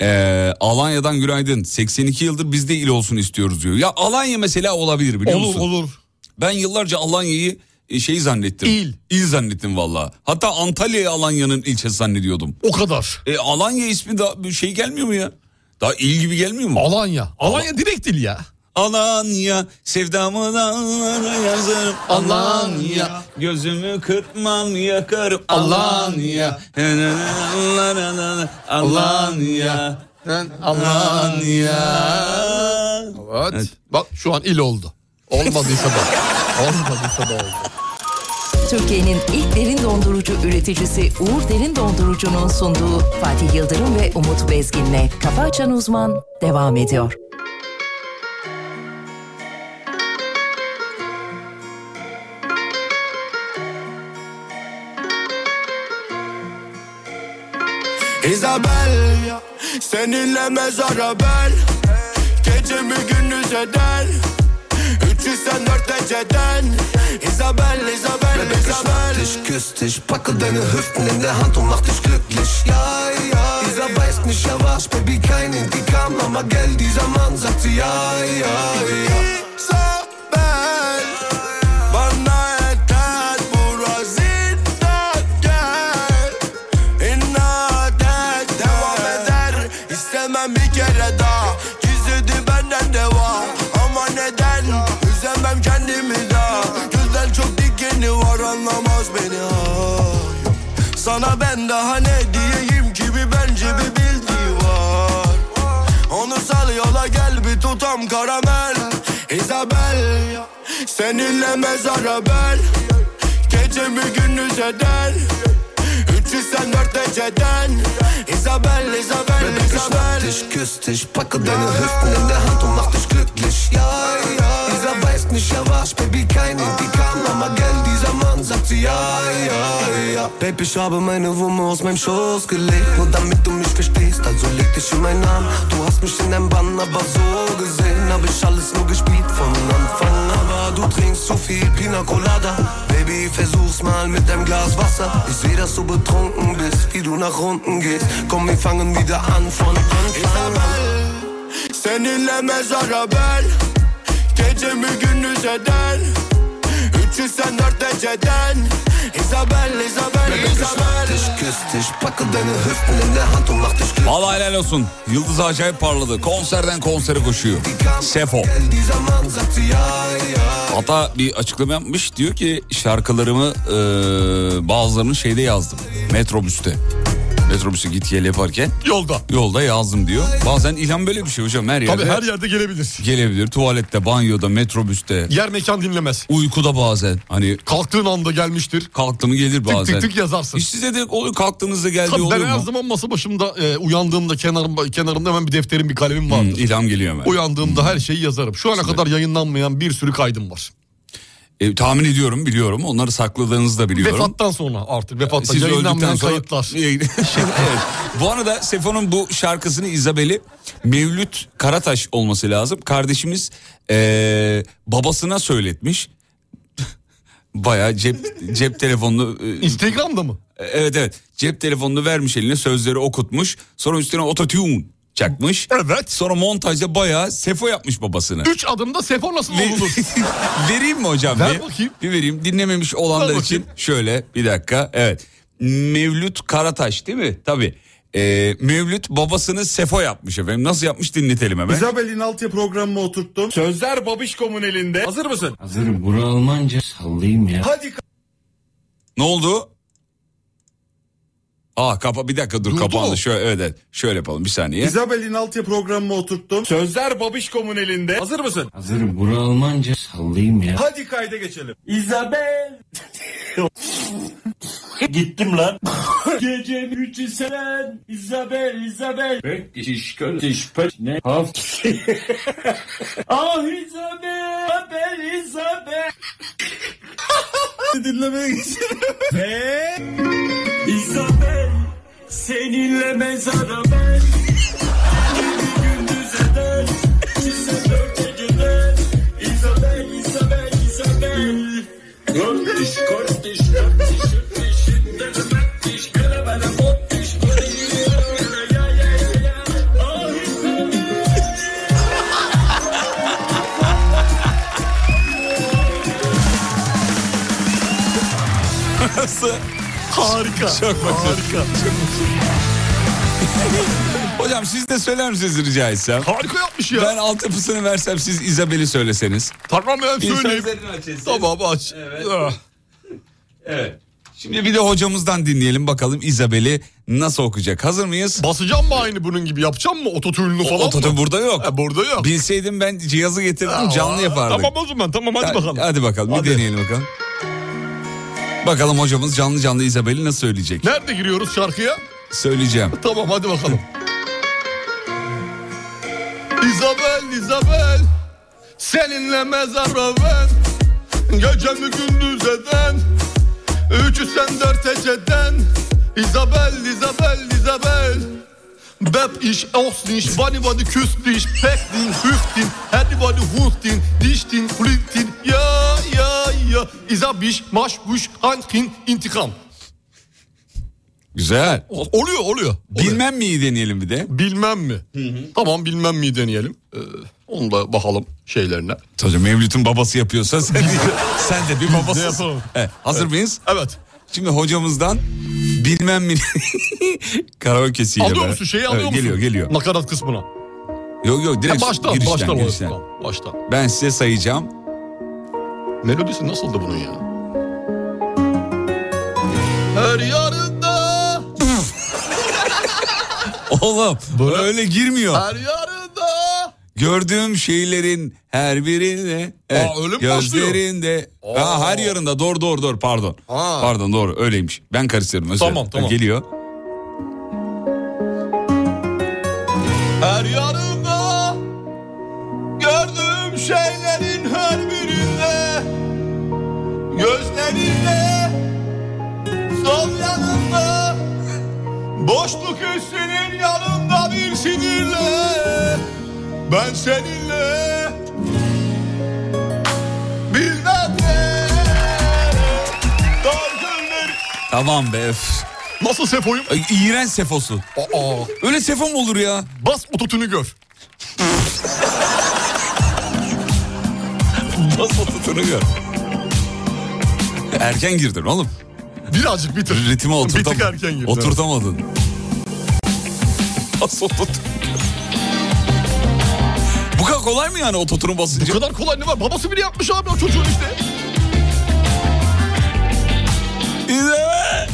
B: Ee, Alanya'dan günaydın. 82 yıldır biz de il olsun istiyoruz diyor. Ya Alanya mesela olabilir biliyor
D: Olur
B: musun?
D: olur.
B: Ben yıllarca Alanya'yı e, şey zannettim.
D: İl.
B: İl zannettim valla. Hatta Antalya'yı Alanya'nın ilçesi zannediyordum.
D: O kadar.
B: E Alanya ismi daha bir şey gelmiyor mu ya? Daha il gibi gelmiyor mu?
D: Alanya. Alanya direkt dil ya.
B: Alanya sevdamı dağlara yazarım. Alanya gözümü kırpmam yakarım. Alanya. Alanya. Alanya.
D: Evet. Bak şu an il oldu. Olmadıysa da. Olmadıysa da oldu.
C: Türkiye'nin ilk derin dondurucu üreticisi Uğur Derin Dondurucu'nun sunduğu Fatih Yıldırım ve Umut Bezgin'le Kafa Açan Uzman devam ediyor.
I: Isabel Seninle mezara ben Gecemi gündüz eder 384 dereceden Isabel, Isabel, Isabel
H: Ich küss dich, packe deine Hüften in der Hand und mach dich glücklich. Ja, ja, dieser weiß nicht, er war's, Baby, kein Indikam, Mama, gell, dieser Mann sagt sie, ja, ja, ja.
I: Isabel
J: Üzülmem bir kere daha Gizledi benden de var Ama neden üzemem kendimi daha Gözler çok dikeni var anlamaz beni Ah. hayır. Sana ben daha ne diyeyim ki bir bence bir bildiği var Onu sal yola gel bir tutam karamel Isabel Seninle mezara bel Gece mi gündüz eder Üçü sen dört eceden Isabel, Isabel, Isabel
H: Ich küss dich, packe deine Hüften in der Hand und mach dich glücklich. Ja, ja. Dieser weiß nicht, er war's, Baby, kein Indikam, aber gell, dieser Mann sagt sie, ja, ja, ja. Baby, ich habe meine Wumme aus meinem Schoß gelegt, nur damit du mich verstehst, also leg dich in meinen Arm. Du hast mich in deinem Bann, aber so gesehen hab ich alles nur gespielt von Anfang an. Aber du trinkst zu viel Pina Colada, Baby, versuch's mal mit deinem Glas Wasser. Ich seh, dass du betrunken bist, wie du nach unten gehst. Komm, wir fangen wieder an von Anfang an.
J: Seninle mezara ben Gece mi gündüz eden 384 dereceden Isabel, Isabel, Isabel
H: Ich küss dich, packe deine Hüften in der Hand und mach dich glücklich.
B: Vallahi helal olsun. Yıldız acayip parladı. Konserden konsere koşuyor. Sefo.
H: Gell, dieser Mann sagt sie, ja, ja.
B: Hatta bir açıklama yapmış. Diyor ki şarkılarımı eee, bazılarını şeyde yazdım. Metrobüste. Metrobüse git gel yaparken
D: Yolda.
B: yolda yazdım diyor. Bazen ilham böyle bir şey hocam her yerde
D: Tabii her yerde gelebilir.
B: gelebilir. Tuvalette, banyoda, metrobüste,
D: Yer mekan dinlemez.
B: uykuda bazen. Hani
D: Kalktığın anda gelmiştir.
B: kalktı mı gelir bazen.
D: Tık tık tık yazarsın.
B: Hiç size de oluyor kalktığınızda geldiği
D: Tabii ben
B: oluyor
D: her
B: mu?
D: zaman masa başımda e, uyandığımda kenarımda, kenarımda hemen bir defterim bir kalemim
B: Hı,
D: vardır.
B: ilham geliyor hemen.
D: Uyandığımda
B: Hmm.
D: her şeyi yazarım. Şu ana kadar yayınlanmayan bir sürü kaydım var.
B: E, tahmin ediyorum biliyorum. Onları sakladığınızı da biliyorum.
D: Vefattan sonra artık vefattan
B: Siz öldükten
D: yayınlanmayan
B: sonra...
D: kayıtlar.
B: Yayın- Şey, evet. Bu arada Sefo'nun bu şarkısını İzabel'i Mevlüt Karataş olması lazım. Kardeşimiz eee, babasına söyletmiş. Baya cep cep telefonunu e,
D: Instagram'da mı?
B: evet evet cep telefonunu vermiş eline sözleri okutmuş. Sonra üstüne ototune çakmış.
D: Evet.
B: Sonra montajda bayağı Sefo yapmış babasını.
D: Üç adımda sefo nasıl
B: Ve-
D: olunur?
B: vereyim mi hocam?
D: Ver
B: bir,
D: bakayım.
B: Bir vereyim. Dinlememiş olanlar
D: Ver
B: için
D: bakayım.
B: şöyle bir dakika. Evet. Mevlüt Karataş değil mi? Tabii. Ee, Mevlüt babasını Sefo yapmış efendim. Nasıl yapmış dinletelim hemen.
G: Isabel'in altyapı programına oturttum. Sözler Babişko'nun elinde. Hazır mısın?
B: Ne oldu? Aa kapa bir dakika dur
D: Durdu
B: kapandı.
D: mu?
B: Şöyle evet, evet. Şöyle yapalım bir saniye.
G: Isabel'in altyapı programına oturttum. Sözler Babişko'nun elinde. Hazır mısın? Hazırım. Bura Almanca. Sallayayım ya. Hadi kayda geçelim. Isabel. Gittim lan. Gece üçü sen. Isabel, Isabel. Işkal, işpal, ne? Haf. ah Isabel, Isabel, Isabel. Dinlemeye geçelim. Ve... Isabel, seninle mezara ben.
B: Nasıl?
D: Harika.
B: Çok başarılı.
D: Harika.
B: Hocam siz de söyler misiniz rica etsem?
D: Harika yapmış ya.
B: Ben altyapısını versem siz İzabel'i söyleseniz.
D: Tamam ben söyleyeyim.
B: açın.
D: Tamam aç. Ah.
B: Evet. Şimdi bir de hocamızdan dinleyelim bakalım İzabel'i nasıl okuyacak. Hazır mıyız?
D: Basacağım mı aynı bunun gibi? Yapacağım mı? Ototürlü falan mı?
B: Ototun burada yok.
D: Ha, burada yok.
B: Bilseydim ben cihazı getirdim canlı yapardık.
D: Tamam o zaman tamam hadi bakalım.
B: Hadi bakalım bir
D: Hadi.
B: deneyelim bakalım. Bakalım hocamız canlı canlı İzabel'i nasıl söyleyecek?
D: Nerede giriyoruz şarkıya?
B: Söyleyeceğim.
D: Tamam hadi bakalım. Isabel, Isabel Seninle mezara ben Gecemi gündüz eden Üç üstten dört eceden Isabel, Isabel, Isabel Bep ich aus nicht, wann wann küsst dich, peck din, hüft din, hadi wann hust din, dich din, fliegt din, ja, ja, ja, Isabisch, masch, busch, hand hin, intikam.
B: Güzel.
D: Oluyor, oluyor. oluyor.
B: Bilmem miyi deneyelim bir de.
D: Bilmem mi? Tamam bilmem mi deneyelim. Ee, onu da bakalım şeylerine.
B: Hocam Mevlüt'ün babası yapıyorsa sen de, sen de bir
D: Ne
B: babasısın.
D: yapalım?
B: Evet, hazır mıyız?
D: Evet.
B: Şimdi hocamızdan Bilmem mi? Karaoke'siyle.
D: Alıyor
B: beraber.
D: musun şeyi alıyor
B: Evet,
D: musun?
B: Geliyor geliyor.
D: Nakarat kısmına.
B: Yok yok direkt
D: Ha, baştan,
B: girişten,
D: baştan,
B: girişten.
D: baştan, baştan.
B: Ben size sayacağım.
D: Melodisi nasıldı bunun ya? Her yarında.
B: Oğlum öyle girmiyor.
D: Her yarında.
B: Gördüğüm şeylerin her birinde evet,
D: Aa, öyle mi
B: gözlerinde
D: Aa.
B: Aa, her yarında doğru doğru doğru pardon.
D: Aa.
B: Pardon doğru öyleymiş. Ben karıştırdım özür
D: Tamam,
B: dilerim.
D: tamam.
B: Geliyor.
D: Her yarında. Gördüğüm şeylerin her birinde. Gözlerinde. Sol yanında. Boşluk üstünün yanında bir sinirle. Ben seninle. Bilmem ne. Dargındır.
B: Tamam be. öf.
D: Nasıl sefoyum?
B: Ay, İğrenç sefosu.
D: Aa,
B: Öyle sefo mu olur ya?
D: bas ototünü gör.
B: Nasıl tutunuyor? Erken girdin oğlum.
D: Birazcık bitir.
B: Ritmi
D: Bir tık
B: oturtam
D: erken girdin.
B: oturtamadın. Nasıl ototun? Bu kadar kolay mı yani ototunu basınca?
D: Bu kadar kolay ne var? Babası bile yapmış abi o çocuğun işte.
B: İzleme!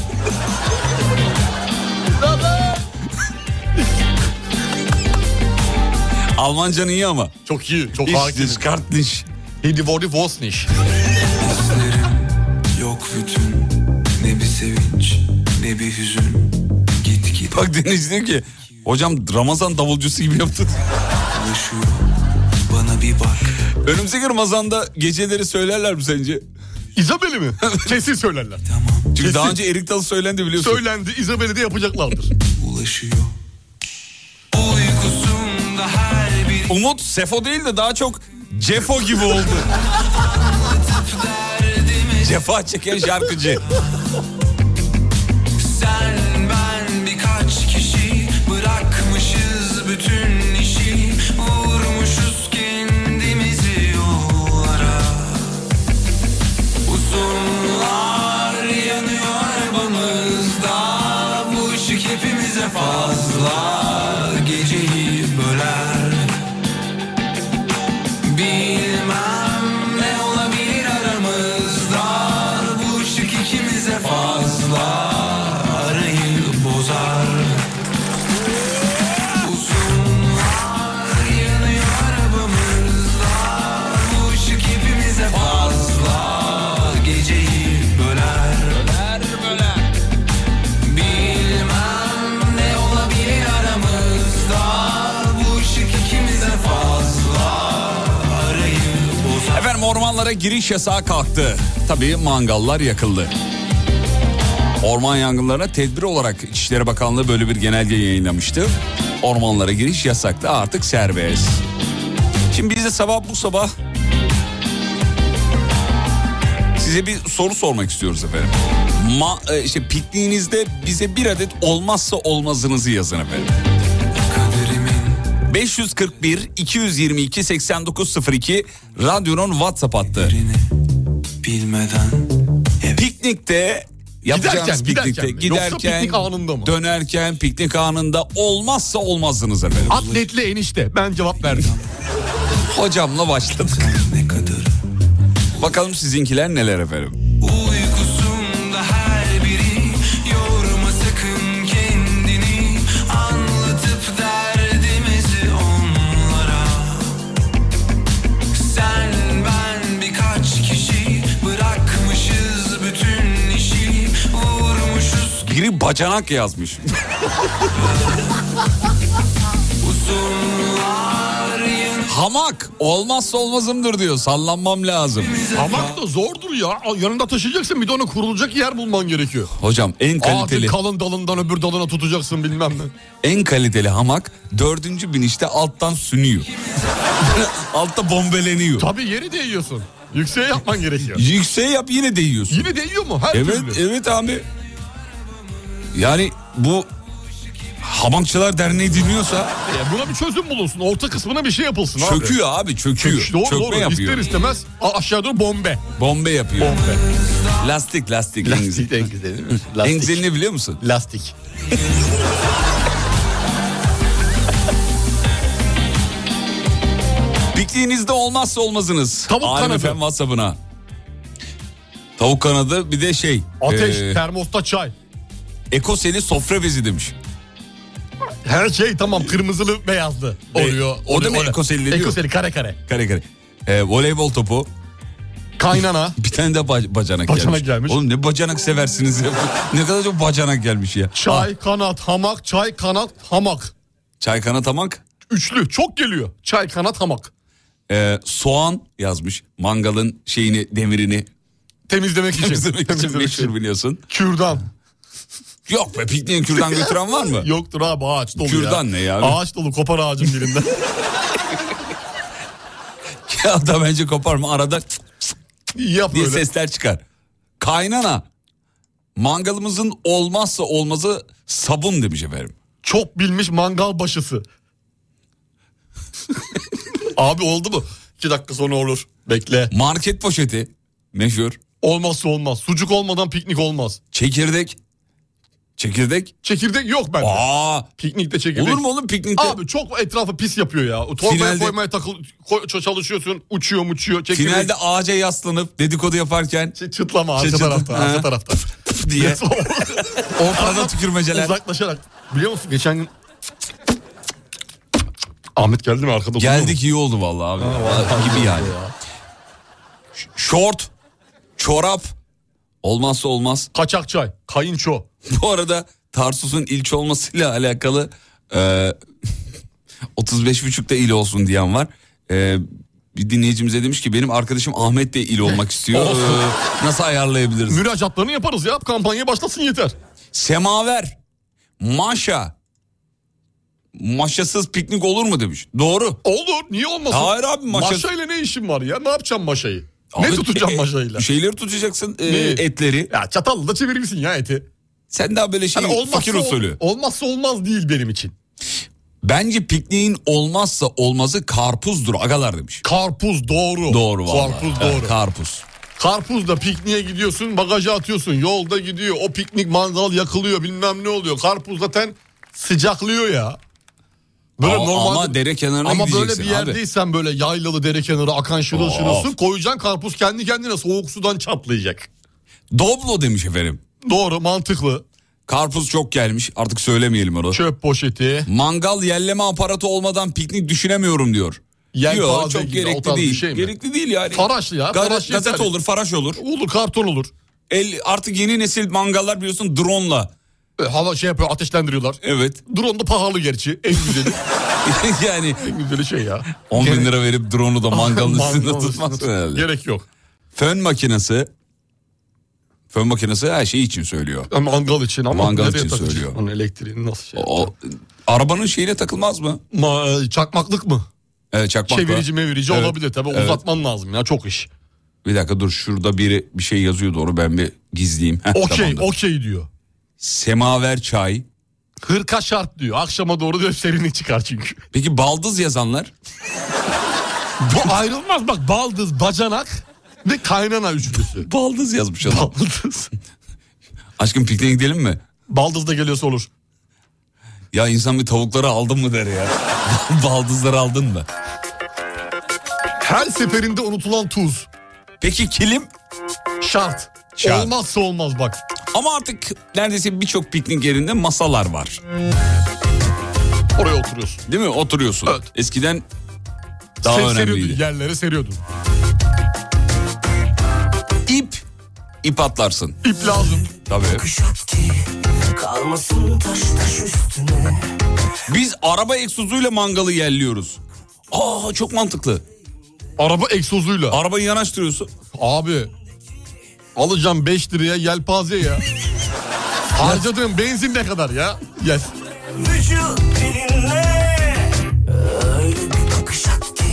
B: Almancan iyi ama.
D: Çok iyi, çok
B: İş
D: hakim.
B: diş, kart diş.
D: Hedi vodi vosniş.
I: Yok bütün ne bir sevinç ne bir hüzün Git git
B: Bak Deniz diyor ki hocam Ramazan davulcusu gibi yaptın.
I: alışıyor bana bir bak
B: Önümüzdeki Ramazan'da geceleri söylerler mi sence?
D: İzabel'i mi? Kesin söylerler.
B: Çünkü
D: Kesin.
B: daha önce Erik Dalı söylendi biliyorsun.
D: Söylendi, İzabel'i de yapacaklardır.
I: ulaşıyor Uykusunda her bir
B: Umut Sefo değil de daha çok Cefo gibi oldu. Cefa çeken şarkıcı.
I: sen ben birkaç kişi Bırakmışız bütün işi Vurmuşuz kendimizi yollara Uzunlar yanıyor arabamızda Bu ışık hepimize fazla Geceyi böler Bilmem ne olabilir aramızda Bu ışık ikimize fazla Arayı bozar Uzunlar yanıyor arabamızda Bu ışık hepimize fazla Geceyi böler Böler böler Bilmem ne olabilir aramızda Bu ışık ikimize fazla Arayı bozar
B: Efendim ormanlara giriş yasağı kalktı. Tabii mangallar yakıldı. Orman yangınlarına tedbir olarak İçişleri Bakanlığı böyle bir genelge yayınlamıştı. Ormanlara giriş yasaktı artık serbest. Şimdi biz de sabah bu sabah size bir soru sormak istiyoruz efendim. Ma, e, işte pikniğinizde bize bir adet olmazsa olmazınızı yazın efendim. 541 222 8902 radyonun WhatsApp hattı.
I: Bilmeden
B: Piknikte yapacağınız
D: Giderken,
B: piknikte
D: giderken mi? Yoksa piknik anında mı?
B: dönerken piknik anında olmazsa olmazsınız efendim.
D: Atletli enişte. Ben cevap verdim.
B: Hocamla başladık.
I: ne kadar
B: Bakalım sizinkiler neler efendim.
I: Uykusunda her biri yorma sakın kendini anlatıp derdimizi onlara Sen ben birkaç kişi bırakmışız bütün işi vurmuşuz
B: Biri bacanak yazmış.
I: uzunlar yanı
B: Hamak olmazsa olmazımdır diyor. Sallanmam lazım.
D: Hamak da zordur ya. Al, Yanında taşıyacaksın bir de ona kurulacak yer bulman gerekiyor.
B: Hocam en
D: Ağacın
B: kaliteli
D: kalın dalından öbür dalına tutacaksın bilmem ne.
B: en kaliteli hamak dördüncü binişte alttan sünüyor. Altta bombeleniyor.
D: Tabii yeri değiyorsun. Yükseğe yapman gerekiyor.
B: Yükseğe yap yine değiyorsun.
D: Yine değiyor mu? Her
B: Evet
D: türlü.
B: evet abi. Yani bu Habankçılar Derneği dinliyorsa
D: Ya E, buna bir çözüm bulunsun. Orta kısmına bir şey yapılsın abi.
B: çöküyor abi çöküyor.
D: Çök- doğru
B: Çökme
D: doğru.
B: yapıyor.
D: İster istemez a- aşağı doğru bombe.
B: Bombe yapıyor.
D: Bombe. e,
B: Lastik lastik. en güzel.
D: en güzeli.
B: En güzelini biliyor musun?
D: Lastik.
B: Pikniğinizde olmazsa olmazınız.
D: Tavuk
B: Alem
D: kanadı.
B: Efem WhatsApp'ına. Tavuk kanadı bir de şey.
D: Ateş,
B: e,
D: termosta çay.
B: Eko seni sofra bezi demiş.
D: Her şey tamam kırmızılı beyazlı oluyor.
B: o da mı ekoseli diyor?
D: Ekoseli kare kare.
B: Kare kare. E, voleybol topu.
D: Kaynana.
B: Bir tane de ba- bacanak,
D: Bacanak
B: gelmiş.
D: gelmiş.
B: Oğlum ne bacanak seversiniz ya. ne kadar çok bacanak gelmiş ya. Ah,
D: Çay, kanat, hamak, çay, kanat, hamak.
B: Çay kanat hamak.
D: Üçlü çok geliyor. Çay, kanat, hamak.
B: E, soğan yazmış. Mangalın şeyini demirini
D: Temizlemek için.
B: temizlemek için meşhur biliyorsun.
D: Kürdan.
B: Yok be pikniğin kürdan götüren var mı?
D: Yoktur abi ağaç dolu ya.
B: Kürdan ne ya?
D: Ağaç dolu kopar ağacın birinden.
B: ya da bence koparma arada cık cık
D: Yap
B: diye
D: böyle.
B: sesler çıkar. Kaynana. Mangalımızın olmazsa olmazı sabun demiş efendim.
D: Çok bilmiş mangal başısı. abi oldu mu? İki dakika sonra olur. Bekle.
B: Market poşeti meşhur.
D: Olmazsa olmaz. Sucuk olmadan piknik olmaz.
B: Çekirdek. Çekirdek.
D: Çekirdek yok bende.
B: Aa,
D: Piknikte çekirdek.
B: olur mu oğlum piknikte?
D: Abi çok etrafı pis yapıyor ya. O Torbaya
B: Finalde-
D: koymaya takıl, ko- çalışıyorsun. Uçuyor uçuyor. Çekirdek.
B: Finalde ağaca yaslanıp dedikodu yaparken
D: Şey, çıtlama arka
B: Şey, çıtla-
D: tarafta.
B: Ha.
D: Arka tarafta.
B: diye arada
D: Ortadan
B: tükürmeceler.
D: uzaklaşarak. Biliyor musun geçen gün... Ahmet geldi mi arkada? oturdu mu?
B: Geldik iyi oldu vallahi abi. gibi yani. Ş- Şort, çorap olmazsa olmaz.
D: Kaçak çay. Kayınço.
B: Bu arada Tarsus'un ilçe olmasıyla alakalı e, 35.5'te il olsun diyen var. E, bir dinleyicimize demiş ki benim arkadaşım Ahmet de il olmak istiyor.
D: Olsun.
B: E, nasıl ayarlayabiliriz?
D: Müracaatlarını yaparız ya. Kampanya başlasın yeter.
B: Semaver, maşa. Maşasız piknik olur mu demiş. Doğru.
D: Olur. Niye olmasın?
B: Hayır abi, maşa-
D: Maşayla ne işin var ya? Ne yapacağım maşayı? ne
B: Abi,
D: tutacağım
B: e,
D: maşayla?
B: Şeyleri tutacaksın e,
D: Ne?
B: etleri.
D: Ya çatalla da çevirirsin ya eti.
B: Sen daha böyle şey
D: Hani olmazsa,
B: fakir usulü.
D: olmazsa olmaz değil benim için.
B: Bence pikniğin olmazsa olmazı karpuzdur agalar demiş.
D: Karpuz doğru.
B: Doğru vallahi.
D: Karpuz
B: Evet,
D: doğru.
B: karpuz.
D: Karpuzla pikniğe gidiyorsun bagaja atıyorsun. Yolda gidiyor o piknik mangal yakılıyor bilmem ne oluyor. Karpuz zaten sıcaklıyor ya. Böyle
B: ama,
D: normalde-
B: ama dere kenarına
D: Ama böyle
B: gideceksin
D: bir
B: abi.
D: yerdeysen böyle yaylalı dere kenarı akan şırıl
B: Of.
D: şırılsın koyacaksın karpuz kendi kendine soğuk sudan çatlayacak.
B: Doblo demiş efendim.
D: Doğru mantıklı.
B: Karpuz çok gelmiş artık söylemeyelim onu.
D: Çöp poşeti.
B: Mangal yerleme aparatı olmadan piknik düşünemiyorum diyor.
D: Yelpaze
B: Yok
D: gibi,
B: çok
D: o
B: gerekli
D: tarz bir
B: değil.
D: şey mi?
B: gerekli değil yani.
D: Faraşlı ya,
B: Gazet,
D: faraş
B: gazet
D: yeter.
B: olur, faraş olur.
D: Olur karton olur.
B: El, artık yeni nesil mangallar biliyorsun drone'la.
D: E, Hava şey yapıyor ateşlendiriyorlar.
B: Evet.
D: Drone da pahalı gerçi. En güzeli.
B: yani
D: en güzeli şey ya.
B: 10 bin lira verip drone'u da mangalın üstünde
D: Mangalın
B: tutmaz
D: üstünde
B: herhalde.
D: Gerek yok.
B: Fön makinesi. Fön makinesi her şey için söylüyor.
D: Yani Mangal için ama
B: Mangal
D: nereye
B: için
D: takacak?
B: söylüyor.
D: Onun elektriğini nasıl şey?
B: O, o- arabanın şeyine takılmaz mı?
D: Ma- çakmaklık mı?
B: Evet çakmakla.
D: Çevirici mevirici
B: Evet.
D: olabilir tabii.
B: Evet.
D: Uzatman lazım ya çok iş.
B: Bir dakika dur şurada biri bir şey yazıyor doğru ben bir gizleyeyim. Heh,
D: Okey
B: tamamdır.
D: okey diyor.
B: Semaver çay.
D: Hırka şart diyor. Akşama doğru diyor serinlik çıkar çünkü.
B: Peki baldız yazanlar?
D: Bu ayrılmaz bak baldız, bacanak ve kaynana üçlüsü.
B: Baldız yazmış adam.
D: Baldız.
B: Aşkım pikniğe gidelim mi?
D: Baldız da geliyorsa olur.
B: Ya insan bir tavukları aldın mı der ya. Baldızları aldın mı?
D: Her seferinde unutulan tuz.
B: Peki kilim?
D: Şart.
B: Şart.
D: Olmazsa olmaz bak.
B: Ama artık neredeyse birçok piknik yerinde masalar var.
D: Oraya oturuyorsun.
B: Değil mi? Oturuyorsun.
D: Evet.
B: Eskiden daha
D: Sen seriyordun,
B: önemliydi.
D: yerlere seriyordun.
B: İp. ip atlarsın.
D: İp lazım.
B: Tabii. Biz araba egzozuyla mangalı yerliyoruz. Aa çok mantıklı.
D: Araba egzozuyla.
B: Arabayı yanaştırıyorsun.
D: Abi alacağım 5 liraya yelpaze ya. Harcadığım benzin ne kadar ya? Yes.
I: Vücut dilinle Öyle bir bakış at ki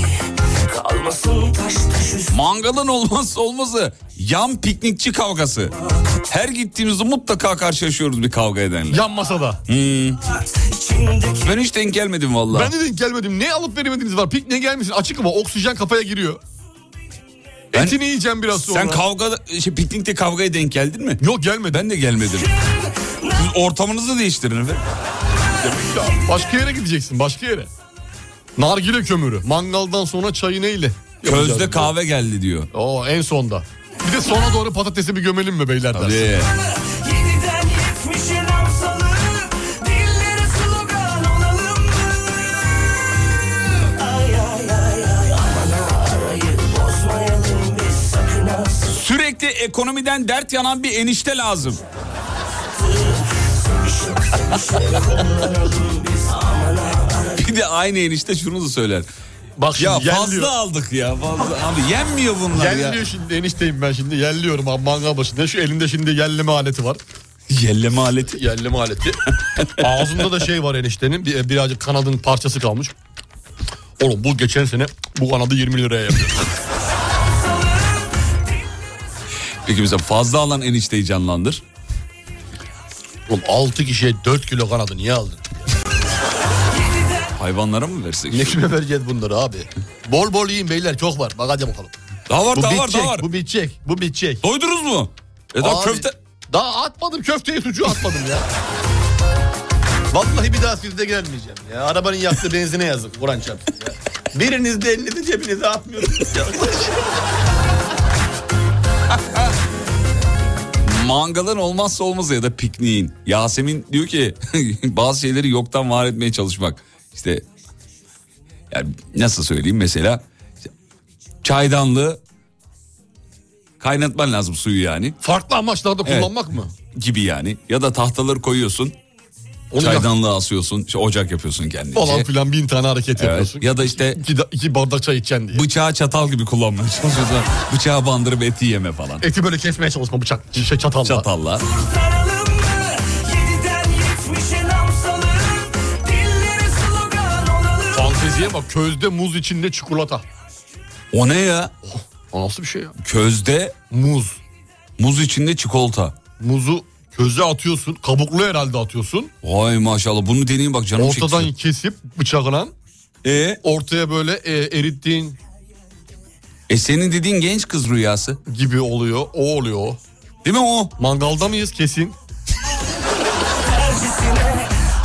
I: Kalmasın
H: kalmasın taş taş üstüne
B: Mangalın olmazsa olmazı yan piknikçi kavgası. Her gittiğimizde mutlaka karşılaşıyoruz bir kavga edenle.
D: Yan masada.
B: Ben hiç denk gelmedim valla.
D: Ben de denk gelmedim. Ne alıp veremediğiniz var? Pikniğe gelmişsin. Açık ama oksijen kafaya giriyor. Etini yiyeceğim biraz sonra.
B: Sen kavga, şey, piknikte kavgaya denk geldin mi?
D: Yok gelmedim.
B: Ben de gelmedim. Siz ortamınızı değiştirin efendim.
D: Başka yere gideceksin. Başka yere. Nargile kömürü. Mangaldan sonra çayı neyle?
B: Közde kahve geldi diyor.
D: Oo en sonda. Bir de sona doğru patatesi bir gömelim mi beyler dersin?
J: Yeniden yetmişin hapsalı Dillere slogan olalım mı? Ay ay ay ay aman ha, arayı bozmayalım biz sakın ha
B: Sürekli ekonomiden dert yanan bir enişte lazım. bir de aynı enişte şunu da söyler.
D: Bak
B: ya
D: şimdi yen
B: fazla
D: diyor.
B: aldık ya fazla. Abi yenmiyor bunlar ya.
D: Yelliyor şimdi enişteyim ben şimdi. Yelliyorum abi mangal başında. Şu elimde şimdi yelleme aleti var.
B: Yelleme aleti.
D: Yelleme aleti. Ağzında da şey var eniştenin. Bir, birazcık kanadın parçası kalmış. Oğlum bu geçen sene bu kanadı 20 liraya yapıyor.
B: Peki mesela fazla alan enişteyi canlandır.
D: Oğlum 6 kişiye 4 kilo kanadı niye aldın?
B: Hayvanlara mı versek?
D: Ne kime vereceğiz bunları abi? Bol bol yiyin beyler çok var. Bak hadi bakalım.
B: Daha var
D: bu
B: daha var
D: bitecek,
B: daha var.
D: bu bitecek, bu bitecek.
B: Doydunuz mu? E daha
D: Abi,
B: köfte...
D: Daha atmadım köfteyi sucuğu atmadım ya. Vallahi bir daha sizde gelmeyeceğim ya. Arabanın yaktığı benzine yazık Kur'an çarpsın ya. Biriniz de elinizi cebinize atmıyorsunuz ya.
B: Mangalın olmazsa olmazı ya da pikniğin. Yasemin diyor ki bazı şeyleri yoktan var etmeye çalışmak. İşte yani nasıl söyleyeyim mesela işte çaydanlığı kaynatman lazım suyu yani
D: Farklı amaçlarda
B: Evet.
D: kullanmak mı?
B: gibi yani ya da tahtaları koyuyorsun
D: Onu yak-
B: çaydanlığı asıyorsun işte ocak yapıyorsun kendince.
D: falan filan bin tane hareket
B: Evet.
D: yapıyorsun.
B: Ya da işte
D: İki, da- iki bardak çay içeceksin diye.
B: bıçağı çatal gibi kullanmaya çalışıyorsun. Bıçağı bandırıp eti yeme falan.
D: Eti böyle kesmeye çalışma bıçak, şey çatalla.
B: Çatalla.
J: Kurtaralım mı? Yediden yetmişin hapsalı Dillere slogan olalım
D: Fanteziye bak közde muz içinde çikolata.
B: O ne ya?
D: O nasıl bir şey ya?
B: Közde
D: Muz.
B: muz içinde çikolata.
D: Muzu köze atıyorsun. Kabuklu herhalde atıyorsun.
B: Vay maşallah bunu deneyeyim bak canım
D: Ortadan
B: çekti.
D: kesip bıçakla
B: E,
D: ortaya böyle e, erittiğin
B: e senin dediğin genç kız rüyası.
D: gibi oluyor. O oluyor o.
B: Değil mi o?
D: Mangalda mıyız kesin?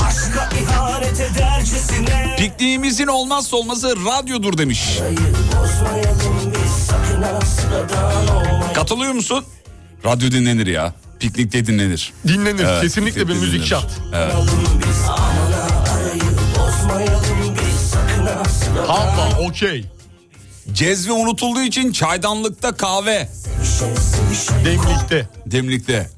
J: Aşka ihanet edercesine
B: Pikniğimizin olmazsa olmazı radyodur demiş. Katılıyor musun? Radyo dinlenir ya. Piknikte dinlenir.
D: Dinlenir.
B: Evet,
D: Kesinlikle bir
B: dinlenir.
D: müzik şart.
B: Evet.
D: Tamam okey.
B: Cezve unutulduğu için çaydanlıkta kahve.
D: Demlikte.
B: Demlikte.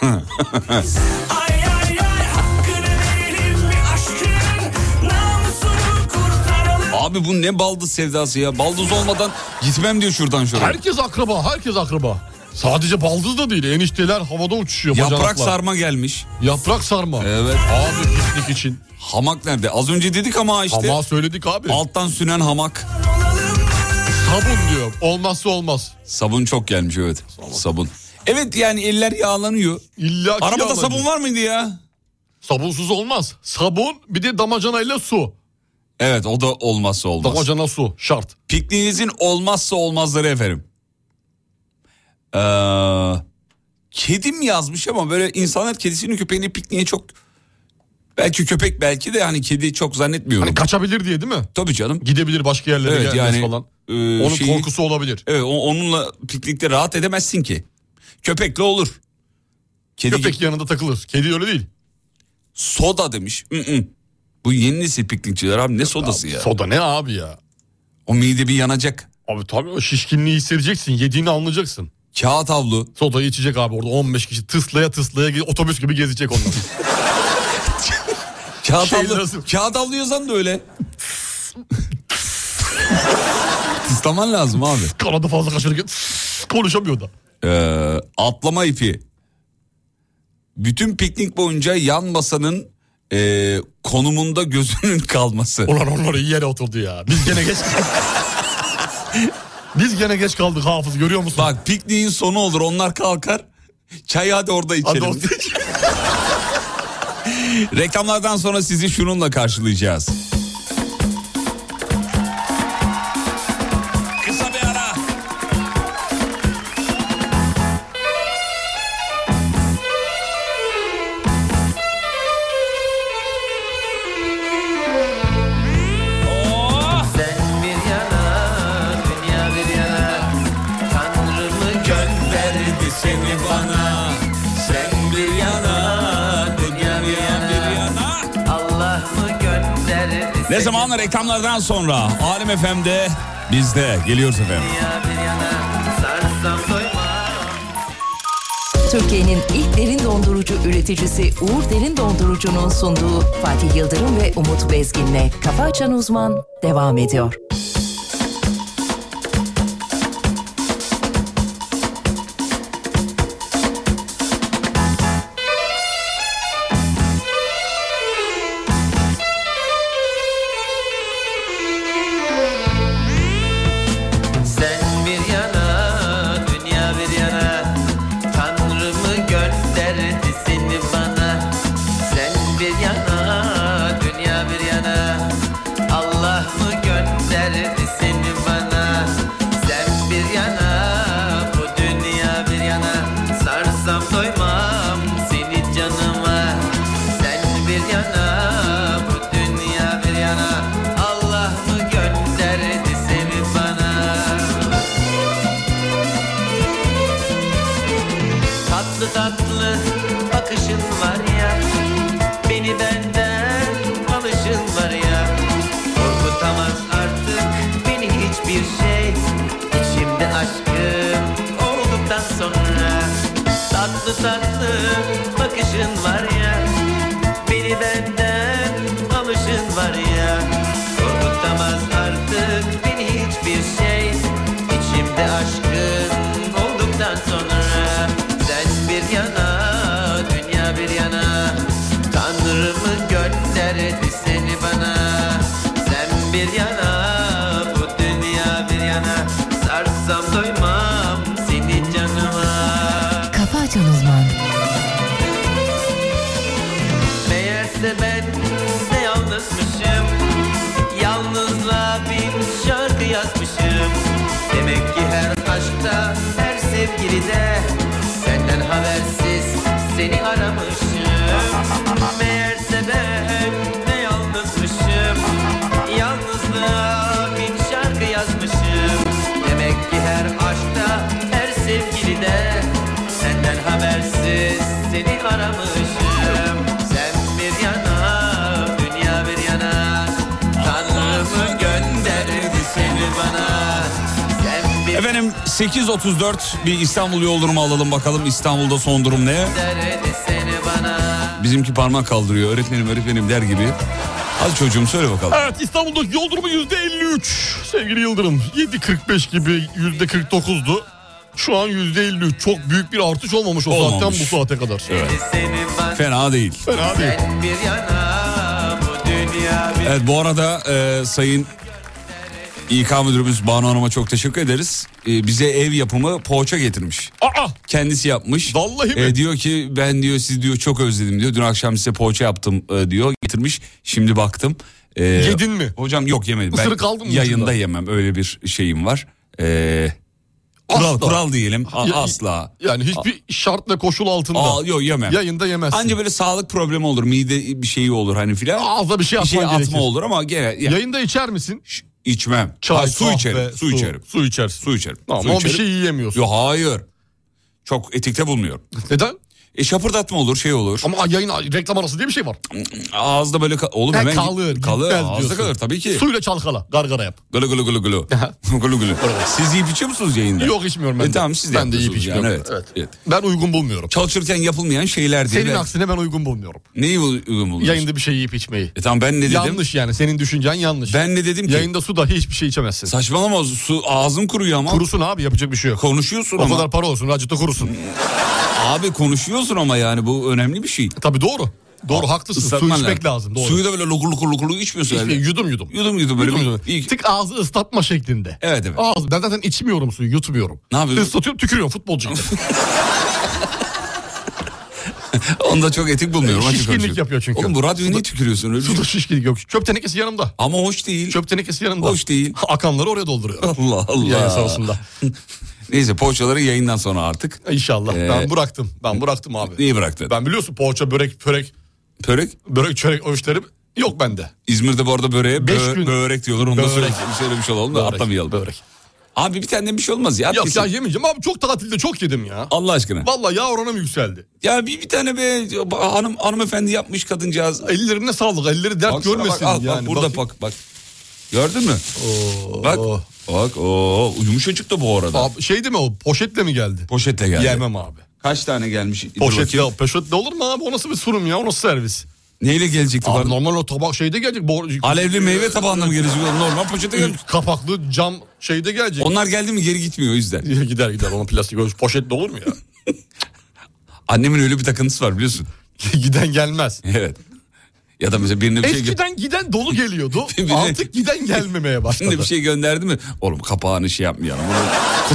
J: Ay ay ay hakkını verelim mi aşkın Namusunu kurtaralım
B: Abi bu ne baldız sevdası ya. Baldız olmadan gitmem diyor şuradan şuraya.
D: Herkes akraba, herkes akraba. Sadece baldız da değil. Enişteler havada uçuşuyor.
B: Yaprak
D: bacanaklar.
B: sarma gelmiş.
D: Yaprak sarma.
B: Evet.
D: Abi piknik için.
B: Hamak nerede? Az önce dedik ama işte.
D: Ama söyledik abi.
B: Alttan sünen hamak.
D: Sabun diyor. Olmazsa olmaz.
B: Sabun çok gelmiş evet. Sabun. Evet yani eller yağlanıyor.
D: İlla ki
B: Arabada
D: yağlanıyor.
B: sabun var mıydı ya?
D: Sabunsuz olmaz. Sabun bir de damacanayla su.
B: Evet o da olmazsa olmaz.
D: Damacana su şart.
B: Pikniğinizin olmazsa olmazları efendim. Ee, kedim yazmış ama böyle insanlar kedisini köpeğini pikniğe çok... Belki köpek belki de hani kedi çok zannetmiyorum.
D: Hani kaçabilir diye değil mi?
B: Tabii canım.
D: Gidebilir başka yerlere
B: Evet,
D: gelmez
B: yani,
D: falan.
B: e,
D: Onun
B: şeyi-
D: korkusu olabilir.
B: Evet o- onunla piknikte rahat edemezsin ki. Köpekle olur. Kedi
D: Köpek yanında takılır. Kedi öyle değil.
B: soda demiş. Mm-mm. Bu yeni nesil piknikçiler abi ne sodası ya?
D: Soda ne abi ya?
B: O mide bir yanacak.
D: Abi tabii o şişkinliği hissedeceksin. Yediğini anlayacaksın.
B: Kağıt havlu.
D: Sodayı içecek abi orada 15 kişi tıslaya tıslaya ge- otobüs gibi gezecek onlar.
B: Kağıt
D: Şey
B: havlu.
D: lazım.
B: Kağıt havlu yazan da öyle. Tıslaman lazım abi.
D: Kanadı fazla kaçırırken konuşamıyor da.
B: Ee, atlama ipi. Bütün piknik boyunca yan masanın ee, konumunda gözünün kalması.
D: Ulan onlar iyi yere oturdu ya. Biz gene geç Biz gene geç kaldık hafız görüyor musun?
B: Bak pikniğin sonu olur onlar kalkar. Çay hadi orada içelim.
D: orada
B: Reklamlardan sonra sizi şununla karşılayacağız. Kısa bir ara. Oh.
K: Sen bir yana, dünya bir yana Tanrımı gönderdi seni bana Sen bir yana, dünya bir yana Allah mı gönderdi
B: Ne zaman reklamlardan sonra Alem FM'de bizde geliyoruz efendim.
K: Sarsam doymam
C: Türkiye'nin ilk derin dondurucu üreticisi Uğur Derin Dondurucu'nun sunduğu Fatih Yıldırım ve Umut Bezgin'le Kafa Açan Uzman devam ediyor.
K: Sen bir yana, dünya bir yana Tanrımı gönderdi seni bana Sen bir yana, dünya bir yana Allah mı gönderdi seni bana Sen bir yana, bu dünya bir yana Sarsam doymam seni canıma Sen bir yana, bu dünya bir yana Allah mı gönderdi seni bana Tatlı tatlı bakışın var ya Beni benden alışın var ya Korkutamaz artık beni hiçbir şey İçimde aşkım olduktan sonra Tatlı tatlı bakışın var ya Beni benden alışın var ya Korkutamaz artık beni hiçbir şey İçimde aşkın olduktan sonra Sen bir yana, dünya bir yana Tanrımı gönderdi seni bana Sen bir yana, bu dünya bir yana Sarsam doymam seni canıma
C: Kafa Açan Uzman
K: Meğerse ben de yalnızmışım Yalnızla bir şarkı yazmışım Demek ki her aşkta, her sevgilide Senden habersiz seni aramışım Meğerse ben de yalnızmışım Yalnızlığa bir şarkı yazmışım Demek ki her aşkta, her sevgilide Senden habersiz seni aramışım Sen bir yana, dünya bir yana Tanrımı gönderdi seni bana Sen bir
B: Efendim 8.34 bir İstanbul yol durumu alalım bakalım İstanbul'da son durum ne?
K: gönderdi seni bana
B: Bizimki parmak kaldırıyor öğretmenim öğretmenim der gibi. Hadi çocuğum söyle bakalım.
D: Evet İstanbul'da yol durumu %53 sevgili Yıldırım. 7.45 gibi %49'du. Şu an %53 çok büyük bir artış olmamış o
B: Olmamış.
D: saatten bu saate kadar.
K: Seni bana
B: Fena değil.
D: Fena değil.
K: Sen bir yana, bu dünya bir
B: Evet bu arada e, sayın İK müdürümüz Banu Hanım'a çok teşekkür ederiz. E, bize ev yapımı poğaça getirmiş.
D: Aa!
B: Kendisi yapmış.
D: Vallahi mi?
B: E, diyor ki ben diyor siz diyor çok özledim diyor. Dün akşam size poğaça yaptım e, diyor. Getirmiş. Şimdi baktım. E,
D: Yedin mi?
B: Hocam yok yemedim.
D: Isırık aldın mı
B: Yayında
D: ucundan?
B: yemem öyle bir şeyim var. E, kural, kural diyelim A-
D: Ya-
B: asla.
D: Yani hiçbir şart ve koşul altında.
B: Aa, yok yemem.
D: Yayında yemezsin.
B: Anca böyle sağlık problemi olur. Mide bir şeyi olur hani filan.
D: Ağza bir şey
B: bir
D: atman
B: şey atma
D: gerekir.
B: olur ama gene ya-
D: Yayında içer misin?
B: Ş- içmem.
D: Çay,
B: Ha, su
D: kahve,
B: içerim. Su, içerim.
D: Su içersin.
B: Su içerim.
D: Tamam
B: su
D: ama bir
B: içerim.
D: şey yiyemiyorsun.
B: Yo, hayır. Çok etikte bulmuyorum.
D: Neden?
B: E şapırdatma olur şey olur.
D: Ama yayın reklam arası diye bir şey var.
B: Ağızda böyle ka- oğlum
D: Ha,
B: hemen
D: kalır.
B: kalır
D: gitmez
B: ağızda
D: diyorsun.
B: kalır tabii ki.
D: Suyla çalkala. Gargara yap.
B: Gulu gulu gulu gulu. gulu gulu. Siz yiyip içiyor musunuz yayında?
D: Yok içmiyorum ben.
B: E
D: de.
B: tamam siz de
D: Ben de yiyip
B: yapıyorsunuz yani,
D: içmiyorum.
B: evet. evet.
D: Ben uygun bulmuyorum.
B: Çalışırken yapılmayan şeyler diye.
D: Senin
B: ben-
D: aksine ben uygun bulmuyorum.
B: Neyi uygun buldunuz?
D: Yayında bir şey yiyip içmeyi.
B: E tamam ben ne dedim?
D: Yanlış yani senin düşüncen yanlış.
B: Ben ne dedim ki?
D: Yayında su dahi hiçbir şey içemezsin.
B: Saçmalama su ağzın kuruyor ama.
D: Kurusun abi yapacak bir şey yok.
B: Konuşuyorsun
D: O
B: ama.
D: kadar para olsun racıta kurusun.
B: Abi konuşuyorsun ama yani bu önemli bir şey.
D: Tabii doğru. Doğru haklısın.
B: Islatman
D: Su içmek lazım. Doğru.
B: Suyu da böyle lokur lokur lokur içmiyorsun
D: İşte
B: herhalde.
D: yudum yudum.
B: Yudum yudum böyle
D: Yudum
B: bir-
D: yudum.
B: bir-
D: Tık ağzı ıslatma şeklinde.
B: Evet, evet.
D: Ağzı. Ben zaten içmiyorum suyu yutmuyorum.
B: Ne yapıyorsun?
D: Islatıyorum tükürüyorum futbolcu gibi.
B: Onu da çok etik bulmuyorum. açık konuşayım.
D: şişkinlik yapıyor çünkü.
B: Oğlum bu radyoyu niye tükürüyorsun? Öyle bir- şey.
D: Suda şişkinlik yok. Çöp tenekesi yanımda.
B: Ama hoş değil.
D: Çöp tenekesi yanımda.
B: Hoş değil.
D: Akanları oraya dolduruyor.
B: Allah Allah.
D: Yayın sırasında.
B: Neyse poğaçaları yayından sonra artık.
D: İnşallah.
B: Ee,
D: ben bıraktım. Ben bıraktım abi.
B: İyi bıraktın.
D: Ben biliyorsun poğaça, börek, pörek,
B: Börek?
D: börek, çörek o işlerim yok bende.
B: İzmir'de bu arada böreğe
D: Beş
B: bö-
D: gün-
B: börek diyorlar. Onu da
D: Börek.
B: söyle- söylemiş olalım da
D: Börek,
B: atlamayalım.
D: Börek.
B: Abi bir tane bir şey olmaz ya.
D: Yok
B: Kesin.
D: ya yemeyeceğim abi çok tatilde çok yedim ya.
B: Allah aşkına.
D: Vallahi yağ oranım yükseldi.
B: Ya bir, bir tane be hanım hanımefendi yapmış kadıncağız.
D: Ellerine sağlık elleri dert
B: Baksana
D: görmesin
B: bak, al,
D: yani.
B: Bak, burada
D: Bakayım.
B: bak bak. Gördün mü? Bak. Bak o yumuşacık da bu arada.
D: Abi, şey değil mi o poşetle mi geldi?
B: Poşete geldi.
D: Yemem abi.
B: Kaç tane gelmiş? Dur
D: Poşetle,
B: bakayım.
D: poşetle olur mu abi? O nasıl bir sunum ya? O nasıl servis?
B: Neyle gelecekti?
D: Abi
B: pardon?
D: normal o tabak şeyde gelecek. bor-
B: Alevli meyve tabağında mı gelecek? Normal poşete gelmiş.
D: Kapaklı cam şeyde gelecek.
B: Onlar geldi mi geri gitmiyor o yüzden.
D: Gider gider onun plastik o poşetle olur mu ya?
B: Annemin öyle bir takıntısı var biliyorsun.
D: giden gelmez.
B: Evet. Ya da mesela birine bir şey gö-
D: Eskiden giden dolu geliyordu.
B: Birine-
D: Artık giden gelmemeye başladı.
B: birine bir şey gönderdi mi? Oğlum kapağını şey yapmayalım. Onu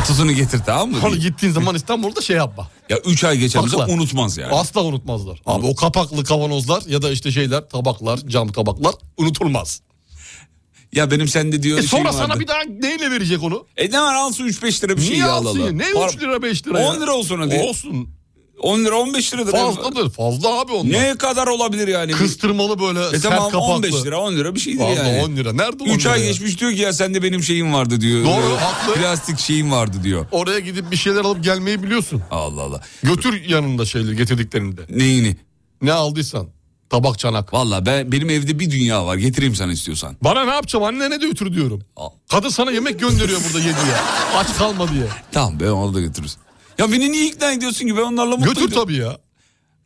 B: kutusunu getir tamam mı?
D: Onu gittiğin zaman İstanbul'da şey yapma.
B: Ya 3 ay geçer mesela
D: Bakla.
B: unutmaz yani.
D: Asla unutmazlar. Abi o kapaklı kavanozlar ya da işte şeyler tabaklar, cam tabaklar unutulmaz.
B: Ya benim sende diyor
D: E
B: şeyim
D: sonra sana
B: vardı.
D: bir daha neyle verecek onu?
B: E ne var alsın 3-5 lira bir şey
D: Niye
B: ya
D: alsın ya?
B: alalım.
D: Ne
B: Par-
D: 3 lira 5 lira ya?
B: 10 lira olsun hadi.
D: Olsun.
B: 10 lira 15 liradır.
D: Fazladır. Fazla abi onlar.
B: Ne kadar olabilir yani?
D: Kıstırmalı böyle
B: E
D: sert
B: tamam
D: kapaklı.
B: 15 lira 10 lira bir şeydir
D: Fazla
B: yani.
D: 10 lira. Nerede 10
B: 3
D: lira
B: ay
D: ya?
B: geçmiş diyor ki ya sende benim şeyim vardı diyor.
D: Doğru,
B: Ee,
D: haklı.
B: Plastik şeyim vardı diyor.
D: Oraya gidip bir şeyler alıp gelmeyi biliyorsun.
B: Allah Allah.
D: Götür yanında şeyleri getirdiklerini de.
B: Neyini?
D: Ne aldıysan. Tabak çanak.
B: Valla ben benim evde bir dünya var getireyim sana istiyorsan.
D: Bana ne yapacağım annene de götür diyorum.
B: Al.
D: Kadın sana yemek gönderiyor burada ye diye. Aç kalma diye.
B: Tamam ben onu da götürürüz. Ya beni niye ikna ediyorsun ki ben onlarla mutluydum.
D: Götür tabii ya.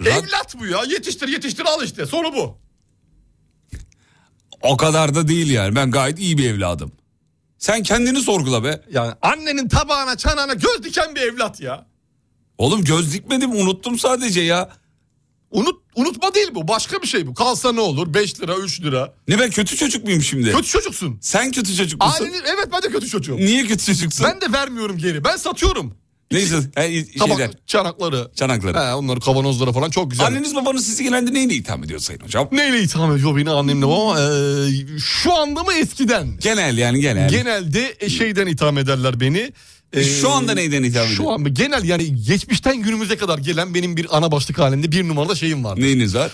B: Rad-
D: Evlat bu ya. Yetiştir yetiştir al işte. Sonu bu.
B: O kadar da değil yani ben gayet iyi bir evladım. Sen kendini sorgula be.
D: Yani annenin tabağına çanağına göz diken bir evlat ya.
B: Oğlum göz dikmedim unuttum sadece ya.
D: Unut, unutma değil bu. Başka bir şey bu. Kalsa ne olur? 5 lira, 3 lira.
B: Ne ben kötü çocuk muyum şimdi?
D: Kötü çocuksun.
B: Sen kötü çocuk musun?
D: Ailenin, evet ben de kötü çocuğum.
B: Niye kötü çocuksun?
D: Ben de vermiyorum geri. Ben satıyorum.
B: Neyse he,
D: Tabak,
B: şeyler,
D: çanakları.
B: çanakları.
D: He, onları kavanozlara falan çok güzel.
B: Anneniz babanız sizi genelde neyle itham ediyor sayın hocam?
D: Neyle itham ediyor beni annemle ama eee, şu anda mı eskiden? mi?
B: Genel yani genel. E,
D: Genelde e, şeyden itham ederler beni. Ee, Eee,
B: Ee, Şu anda neyden itham ediyor?
D: Şu an mı? genel yani geçmişten günümüze kadar gelen benim bir ana başlık halinde bir numarada şeyim var.
B: Neyiniz var?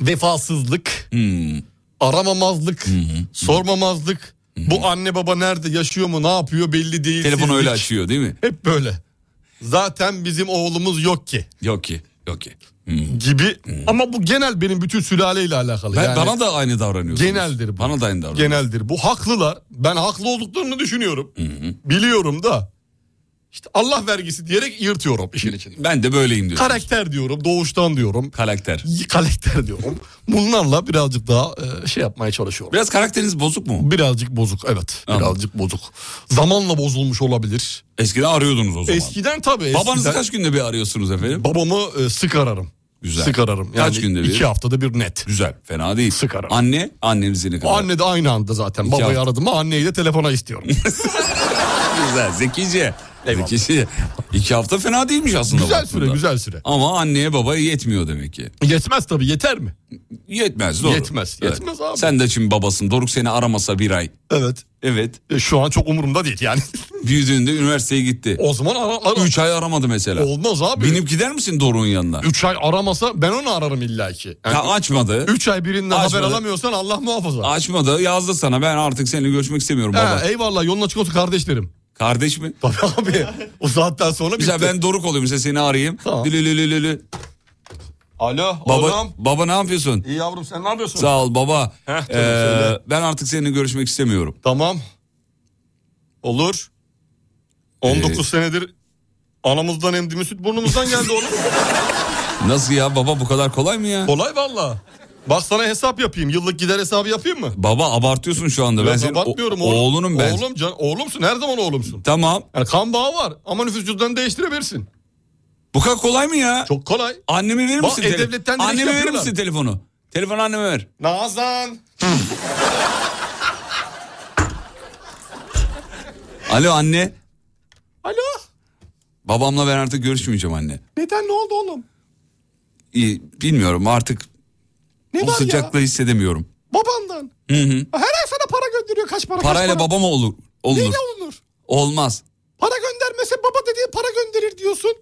D: vefasızlık,
B: Hmm.
D: aramamazlık, sormamazlık. Bu anne baba nerede yaşıyor mu ne yapıyor belli değil.
B: Telefonu öyle
D: sizlik.
B: açıyor değil mi?
D: Hep böyle. Zaten bizim oğlumuz yok ki
B: Yok ki. Yok ki.
D: gibi. Ama bu genel benim bütün sülaleyle alakalı.
B: Ben,
D: yani
B: bana da aynı davranıyorsunuz.
D: Geneldir bu.
B: Bana da aynı davranıyor.
D: geneldir. Bu haklılar. Ben haklı olduklarını düşünüyorum. Biliyorum da. İşte Allah vergisi diyerek yırtıyorum işin içini.
B: Ben de böyleyim diyorsunuz.
D: Karakter diyorum, doğuştan diyorum.
B: Karakter.
D: iyi karakter diyorum. Bunlarla birazcık daha e, şey yapmaya çalışıyorum.
B: Biraz karakteriniz bozuk mu?
D: Birazcık bozuk evet.
B: Anladım.
D: Birazcık bozuk. Zamanla bozulmuş olabilir.
B: Eskiden arıyordunuz o zaman.
D: Eskiden tabii.
B: Babanızı
D: eskiden-
B: kaç günde bir arıyorsunuz efendim?
D: Babamı e, sık ararım.
B: Güzel.
D: Sık ararım.
B: Kaç günde bir?
D: İki haftada bir net.
B: Güzel. Fena değil.
D: Sık ara.
B: Anne, annenizi ne kadar?
D: Anne de aynı anda zaten.
B: İki
D: Babayı
B: hafta.
D: aradım mı anneyi de telefona istiyorum.
B: Güzel, zekice. Zekice. İki hafta fena değilmiş aslında.
D: güzel
B: baktığında.
D: süre güzel süre.
B: Ama anneye babaya yetmiyor demek ki.
D: Yetmez tabii yeter mi?
B: Yetmez doğru.
D: Yetmez, yetmez abi.
B: Sen de şimdi babasın. Doruk seni aramasa bir ay.
D: Evet.
B: Evet.
D: E, şu an çok umurumda değil yani.
B: Büyüdüğünde üniversiteye gitti.
D: o zaman ara, ara-
B: Üç ay aramadı mesela.
D: olmaz abi.
B: Binip gider misin Doruk'un yanına?
D: 3 ay aramasa ben onu ararım illaki. Yani
B: Ya açmadı.
D: 3 ay birinden
B: Açmadı.
D: haber alamıyorsan Allah muhafaza.
B: Açmadı. Yazdı sana. Ben artık seninle görüşmek istemiyorum baba.
D: He, eyvallah yolun açık olsun kardeşlerim.
B: Kardeş mi?
D: e- Tabii abi o saatten sonra bitti.
B: Mesela ben Doruk olayım. Mesela seni arayayım.
D: Tamam.
B: Lülülülülülü.
D: Alo
B: Baba,
D: oğlum.
B: baba ne yapıyorsun?
D: İyi yavrum sen ne yapıyorsun?
B: Sağ ol baba.
D: Heh, tabii,
B: Ee,
D: söyle.
B: ben artık seninle görüşmek istemiyorum.
D: Tamam. Olur. 19
B: Ee,
D: senedir anamızdan emdiğimiz süt burnumuzdan geldi oğlum.
B: Nasıl ya baba bu kadar kolay mı ya?
D: Kolay valla. Bak sana hesap yapayım. Yıllık gider hesabı yapayım mı?
B: Baba abartıyorsun şu anda. ben
D: Yok,
B: senin o-
D: abartmıyorum
B: oğlunum ben.
D: Oğlum can, oğlumsun. Her zaman oğlumsun.
B: Tamam.
D: Yani kan bağı var ama nüfus cüzdanı değiştirebilirsin.
B: Bu kadar kolay mı ya?
D: Çok kolay.
B: Anneme verir
D: Bak,
B: misin? tele-
D: E-Devlet'ten direkt
B: anneme verir
D: yapıyorlar.
B: misin telefonu? Telefonu anneme ver.
D: Nazan.
B: Alo anne.
D: Alo.
B: Babamla ben artık görüşmeyeceğim anne.
D: Neden ne oldu oğlum?
B: İyi, bilmiyorum artık
D: Ne
B: o
D: var ya?
B: sıcaklığı hissedemiyorum.
D: Babandan.
B: Hı hı.
D: Her ay sana para gönderiyor kaç para
B: Parayla
D: kaç para.
B: babam olur. Olunur.
D: Neyle olunur?
B: Olmaz.
D: Para göndermese baba dediğin para gönderir diyorsun.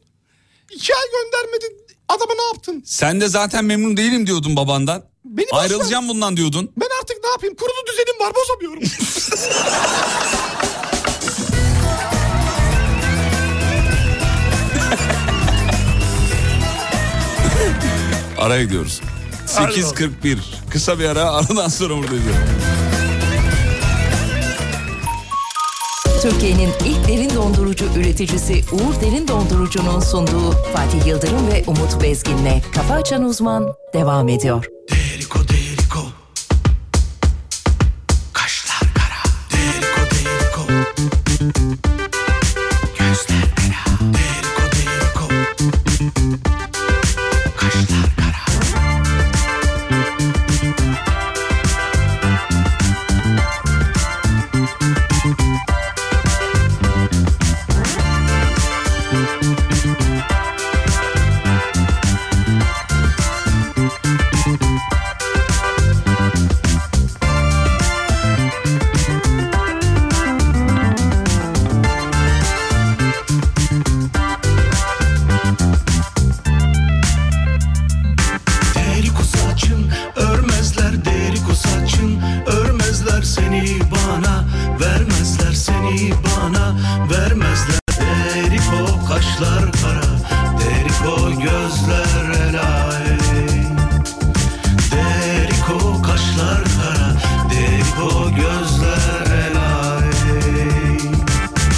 D: İki ay göndermedin adama ne yaptın?
B: Sen de zaten memnun değilim diyordun babandan.
D: Beni boş ver.
B: Ayrılacağım bundan diyordun.
D: Ben artık ne yapayım kurulu düzenim var bozamıyorum.
B: Araya gidiyoruz. 8.41. Kısa bir ara aradan sonra buradayız.
C: Türkiye'nin ilk derin dondurucu üreticisi Uğur Derin Dondurucu'nun sunduğu Fatih Yıldırım ve Umut Bezgin'le Kafa Açan Uzman devam ediyor.
L: Deriko saçın örmezler Deriko saçın örmezler seni bana Vermezler seni bana vermezler Deriko kaşlar kara Deriko gözler helal Deriko kaşlar kara Deriko gözler helal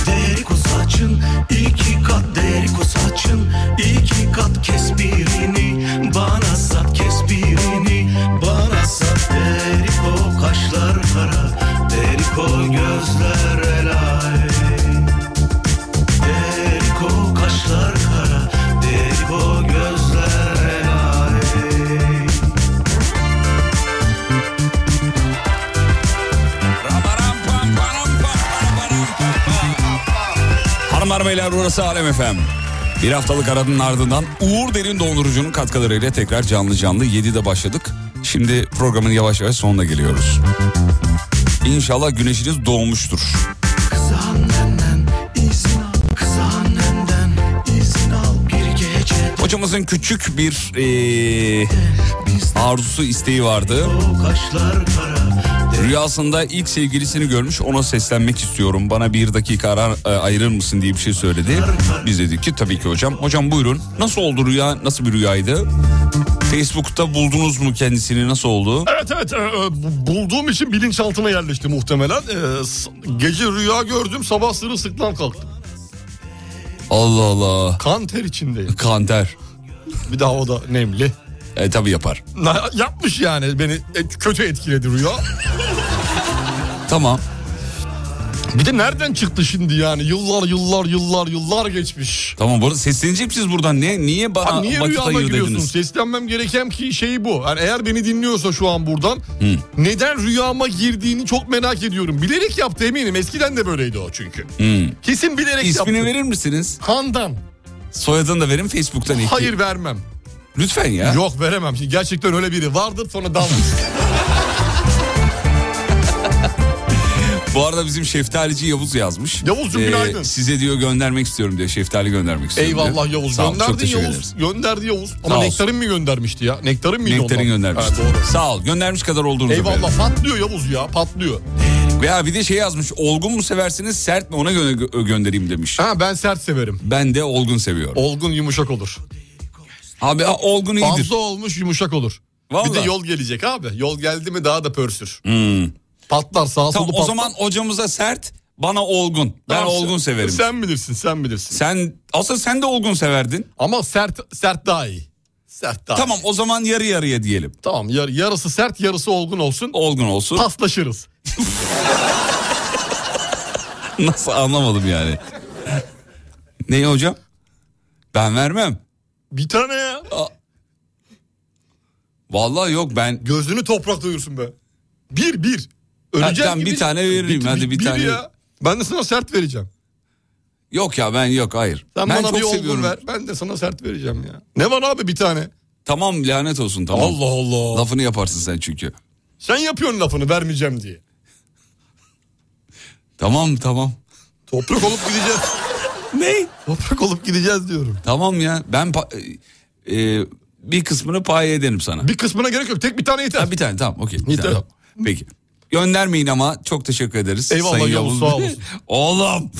L: Deriko saçın iki kat Deriko saçın iki kat kes birini Bana sat kes birini Bana sat Deriko kaşlar kara Deriko gözler helal Deriko kaşlar kara Deriko gözler helal
B: Hanımlar beyler burası Alem Efem. Bir haftalık aranın ardından Uğur Derin Dondurucu'nun katkılarıyla tekrar canlı canlı 7'de başladık. Şimdi programın yavaş yavaş sonuna geliyoruz. İnşallah güneşiniz doğmuştur. Hocamızın küçük bir eee, arzusu isteği vardı. Rüyasında ilk sevgilisini görmüş ona seslenmek istiyorum. Bana bir dakika ara, e, ayırır mısın diye bir şey söyledi. Biz dedik ki tabii ki hocam. Hocam buyurun nasıl oldu rüya nasıl bir rüyaydı? Facebook'ta buldunuz mu kendisini nasıl oldu?
D: Evet evet e, e, bu- bulduğum için bilinçaltına yerleşti muhtemelen. E, s- gece rüya gördüm sabah sırılsıklam kalktım.
B: Allah Allah.
D: Kan ter içindeyim.
B: Kanter.
D: Bir daha o da nemli.
B: E tabii yapar.
D: Na- yapmış yani beni e, kötü etkiledi rüya.
B: tamam.
D: Bir de nereden çıktı şimdi yani yıllar yıllar yıllar yıllar geçmiş.
B: Tamam bu arada seslenecek misiniz buradan? Ne, niye bana
D: Abi niye
B: vakit
D: rüyama
B: ayır
D: giriyorsun?
B: dediniz?
D: Seslenmem gereken ki şey bu. Yani eğer beni dinliyorsa şu an buradan
B: Hı.
D: neden rüyama girdiğini çok merak ediyorum. Bilerek yaptı eminim. Eskiden de böyleydi o çünkü.
B: Hmm.
D: Kesin bilerek yaptı.
B: İsmini verir misiniz?
D: Handan.
B: Soyadını da verin Facebook'tan ekleyeyim.
D: Hayır vermem.
B: Lütfen ya.
D: Yok veremem. Şimdi gerçekten öyle biri vardır sonra dalmış.
B: Bu arada bizim şeftalici Yavuz yazmış. Ee,
D: Yavuzcuğum, günaydın.
B: Size diyor göndermek istiyorum diyor. Şeftali göndermek istiyorum diyor.
D: Eyvallah Yavuz.
B: Sağ ol, çok
D: Gönderdin
B: teşekkür
D: Yavuz.
B: ederiz.
D: Gönderdi Yavuz. Ama
B: Sağ olsun.
D: nektarin mi göndermişti ya? Nektarin miydi
B: Nektarin
D: ondan?
B: göndermişti.
D: Ha, doğru.
B: Sağ ol göndermiş kadar olduğunuzu
D: Eyvallah patlıyor Yavuz ya patlıyor.
B: Veya bir de şey yazmış olgun mu seversiniz sert mi ona gö- gö- göndereyim demiş.
D: Ha ben sert severim.
B: Ben de olgun seviyorum.
D: Olgun yumuşak olur.
B: Abi ha, olgun iyidir.
D: Fazla olmuş yumuşak olur.
B: Vallahi.
D: Bir de yol gelecek abi. Yol geldi mi daha da pörsür.
B: Hmm.
D: Patlar sağ
B: Tamam
D: solu
B: o
D: patlar.
B: zaman hocamıza sert bana olgun. Ben
D: Tamam,
B: olgun
D: sen-
B: severim. Sen...
D: Sen bilirsin sen bilirsin.
B: aslında sen de olgun severdin.
D: Ama sert sert daha iyi. Sert daha
B: Tamam
D: iyi.
B: o zaman yarı yarıya diyelim.
D: Tamam yar- yarısı sert yarısı olgun olsun.
B: Olgun olsun.
D: Paslaşırız.
B: Nasıl anlamadım yani. Neyi hocam? Ben vermem.
D: Bir tane ya.
B: Vallahi yok ben.
D: Gözünü toprakta uyursun be. Bir bir. Öleceğim
B: tamam,
D: gibi-
B: bir tane veririm, hadi bir tane.
D: ya. Ben de sana sert vereceğim.
B: Yok ya ben yok hayır.
D: Sen
B: ben
D: bana
B: çok
D: bir olgun
B: seviyorum.
D: ver. Ben de sana sert vereceğim ya. Ne var abi bir tane?
B: Tamam lanet olsun tamam.
D: Allah Allah.
B: Lafını yaparsın sen çünkü.
D: Sen yapıyorsun lafını vermeyeceğim diye.
B: Tamam tamam.
D: Toprak olup gideceğiz.
B: ne?
D: Toprak olup gideceğiz diyorum.
B: Tamam ya ben pa- e, e, bir kısmını pay ederim sana.
D: Bir kısmına gerek yok. Tek bir tane yeter.
B: bir tane tamam okey. Bir tane, tamam. Peki. Göndermeyin ama çok teşekkür ederiz.
D: Eyvallah
B: Sayın
D: Yavuz,
B: Bey.
D: sağ olasın.
B: Oğlum.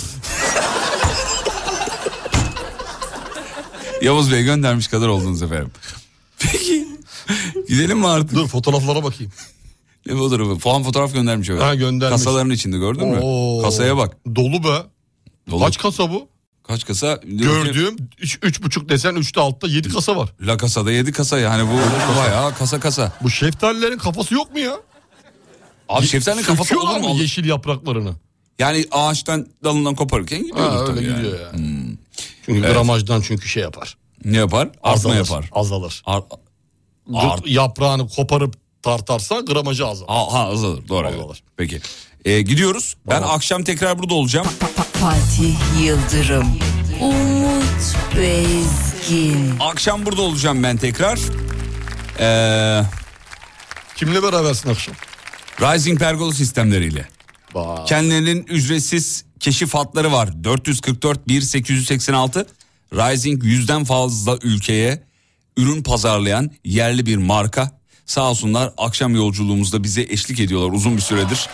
B: Yavuz Bey göndermiş kadar oldunuz efendim. Peki. Gidelim mi artık?
D: Dur fotoğraflara bakayım.
B: Ne fotoğrafı? Falan fotoğraf göndermiş efendim.
D: Ha, göndermiş.
B: Kasaların içinde gördün mü?
D: Oo.
B: Kasaya bak.
D: Dolu be.
B: Dolu.
D: Kaç kasa bu?
B: Kaç kasa?
D: Gördüğüm 3,5 desen 3'te altta 7 kasa var.
B: La kasada yedi kasa yani bu bayağı kasa kasa.
D: Bu şeftalilerin kafası yok mu ya?
B: Abi şeftalinin kafası
D: Söküyorlar
B: olur mu?
D: mı yeşil yapraklarını?
B: Yani ağaçtan dalından koparırken gidiyordur
D: Ha, öyle
B: tabii yani.
D: gidiyor yani. Hmm. Çünkü
B: Evet.
D: gramajdan çünkü şey yapar.
B: Ne yapar? Artma
D: Azalır,
B: yapar.
D: Azalır.
B: Ar-
D: Dur, Yaprağını koparıp tartarsa gramajı azalır.
B: ha, ha, azalır doğru. evet. Peki. Ee, gidiyoruz. Ben akşam tekrar burada olacağım.
C: Fatih Yıldırım, Umut Bezgin,
B: Akşam burada olacağım ben tekrar. Ee,
D: Kimle berabersin akşam?
B: Rising Pergola sistemleriyle. Kendilerinin ücretsiz keşif hatları var. 444 1886 Rising yüzden fazla ülkeye ürün pazarlayan yerli bir marka. Sağ olsunlar akşam yolculuğumuzda bize eşlik ediyorlar uzun bir süredir.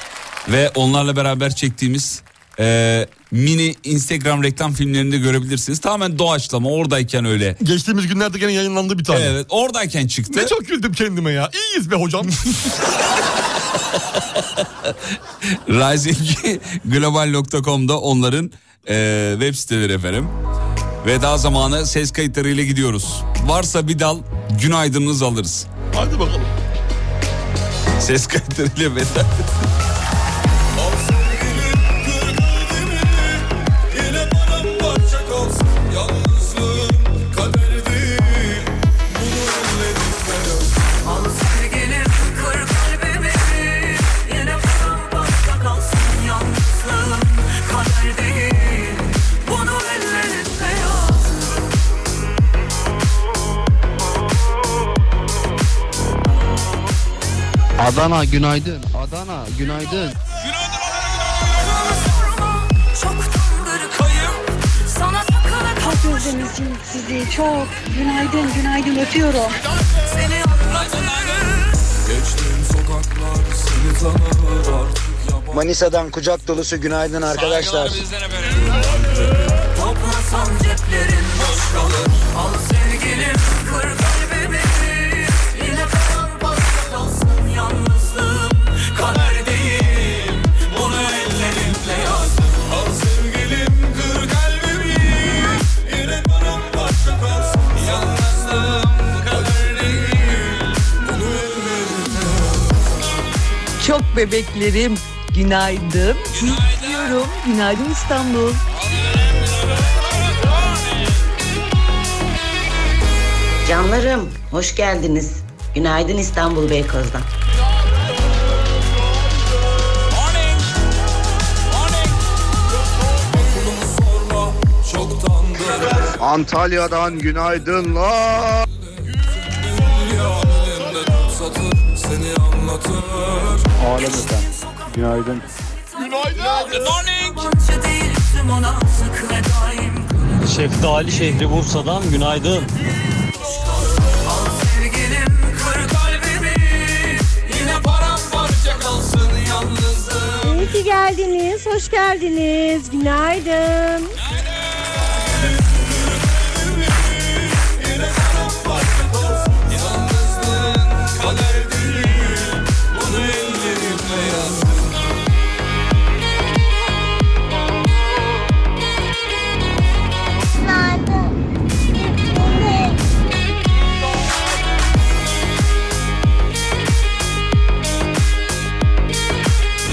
B: Ve onlarla beraber çektiğimiz e, mini Instagram reklam filmlerinde görebilirsiniz. Tamamen doğaçlama oradayken öyle.
D: Geçtiğimiz günlerde gene yayınlandı bir tane.
B: Evet oradayken çıktı.
D: Ne çok güldüm kendime ya. İyiyiz be hocam.
B: Risingglobal.com'da onların e, web siteleri efendim. Veda zamanı ses kayıtlarıyla gidiyoruz. Varsa bir dal günaydınınızı alırız.
D: Hadi bakalım.
B: Ses kayıtlarıyla veda.
I: Yine bana parça kalsın Yalnızlığım kader değil Bunu halledip de yok.
J: Adana günaydın. Adana günaydın.
K: Sana sakala kalkıyor denizciğim sizi çok. Günaydın, günaydın öpüyorum. Seni
I: Geçtiğim sokaklar seni tanır artık
L: Manisa'dan kucak dolusu günaydın arkadaşlar.
I: Toplasan ceplerin boş kalır Al sevgilim kır kalbimi Yine kalan boşta kalsın yalnızlığım Kader değil bunu ellerinle yaz Al sevgilim kır kalbimi Yine kalan boşta kalsın yalnızlığım Kader değil bunu ellerinle
E: Çok bebeklerim günaydın. Sizi Diyorum. Günaydın İstanbul.
M: Canlarım hoş geldiniz. Günaydın İstanbul Beykoz'dan.
J: Antalya'dan günaydınlar.
I: Elinde tutsadır seni anlatır
J: Alem efendim. Günaydın.
I: Günaydın Good morning
A: Şeftali şehri Bursa'dan günaydın.
I: Sevgilim kır kalbimi Yine paramparça kalsın yalnızlığım
G: İyi ki geldiniz, hoş geldiniz. Günaydın.
I: Kader değil Bunu ellerimle yazdım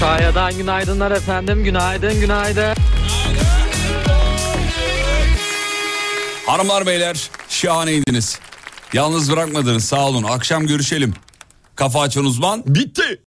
A: Kayadan günaydınlar efendim. Günaydın, günaydın.
B: Hanımlar beyler şahaneydiniz. Yalnız bırakmadınız sağ olun. Akşam görüşelim. Kafa açan uzman.
D: Bitti.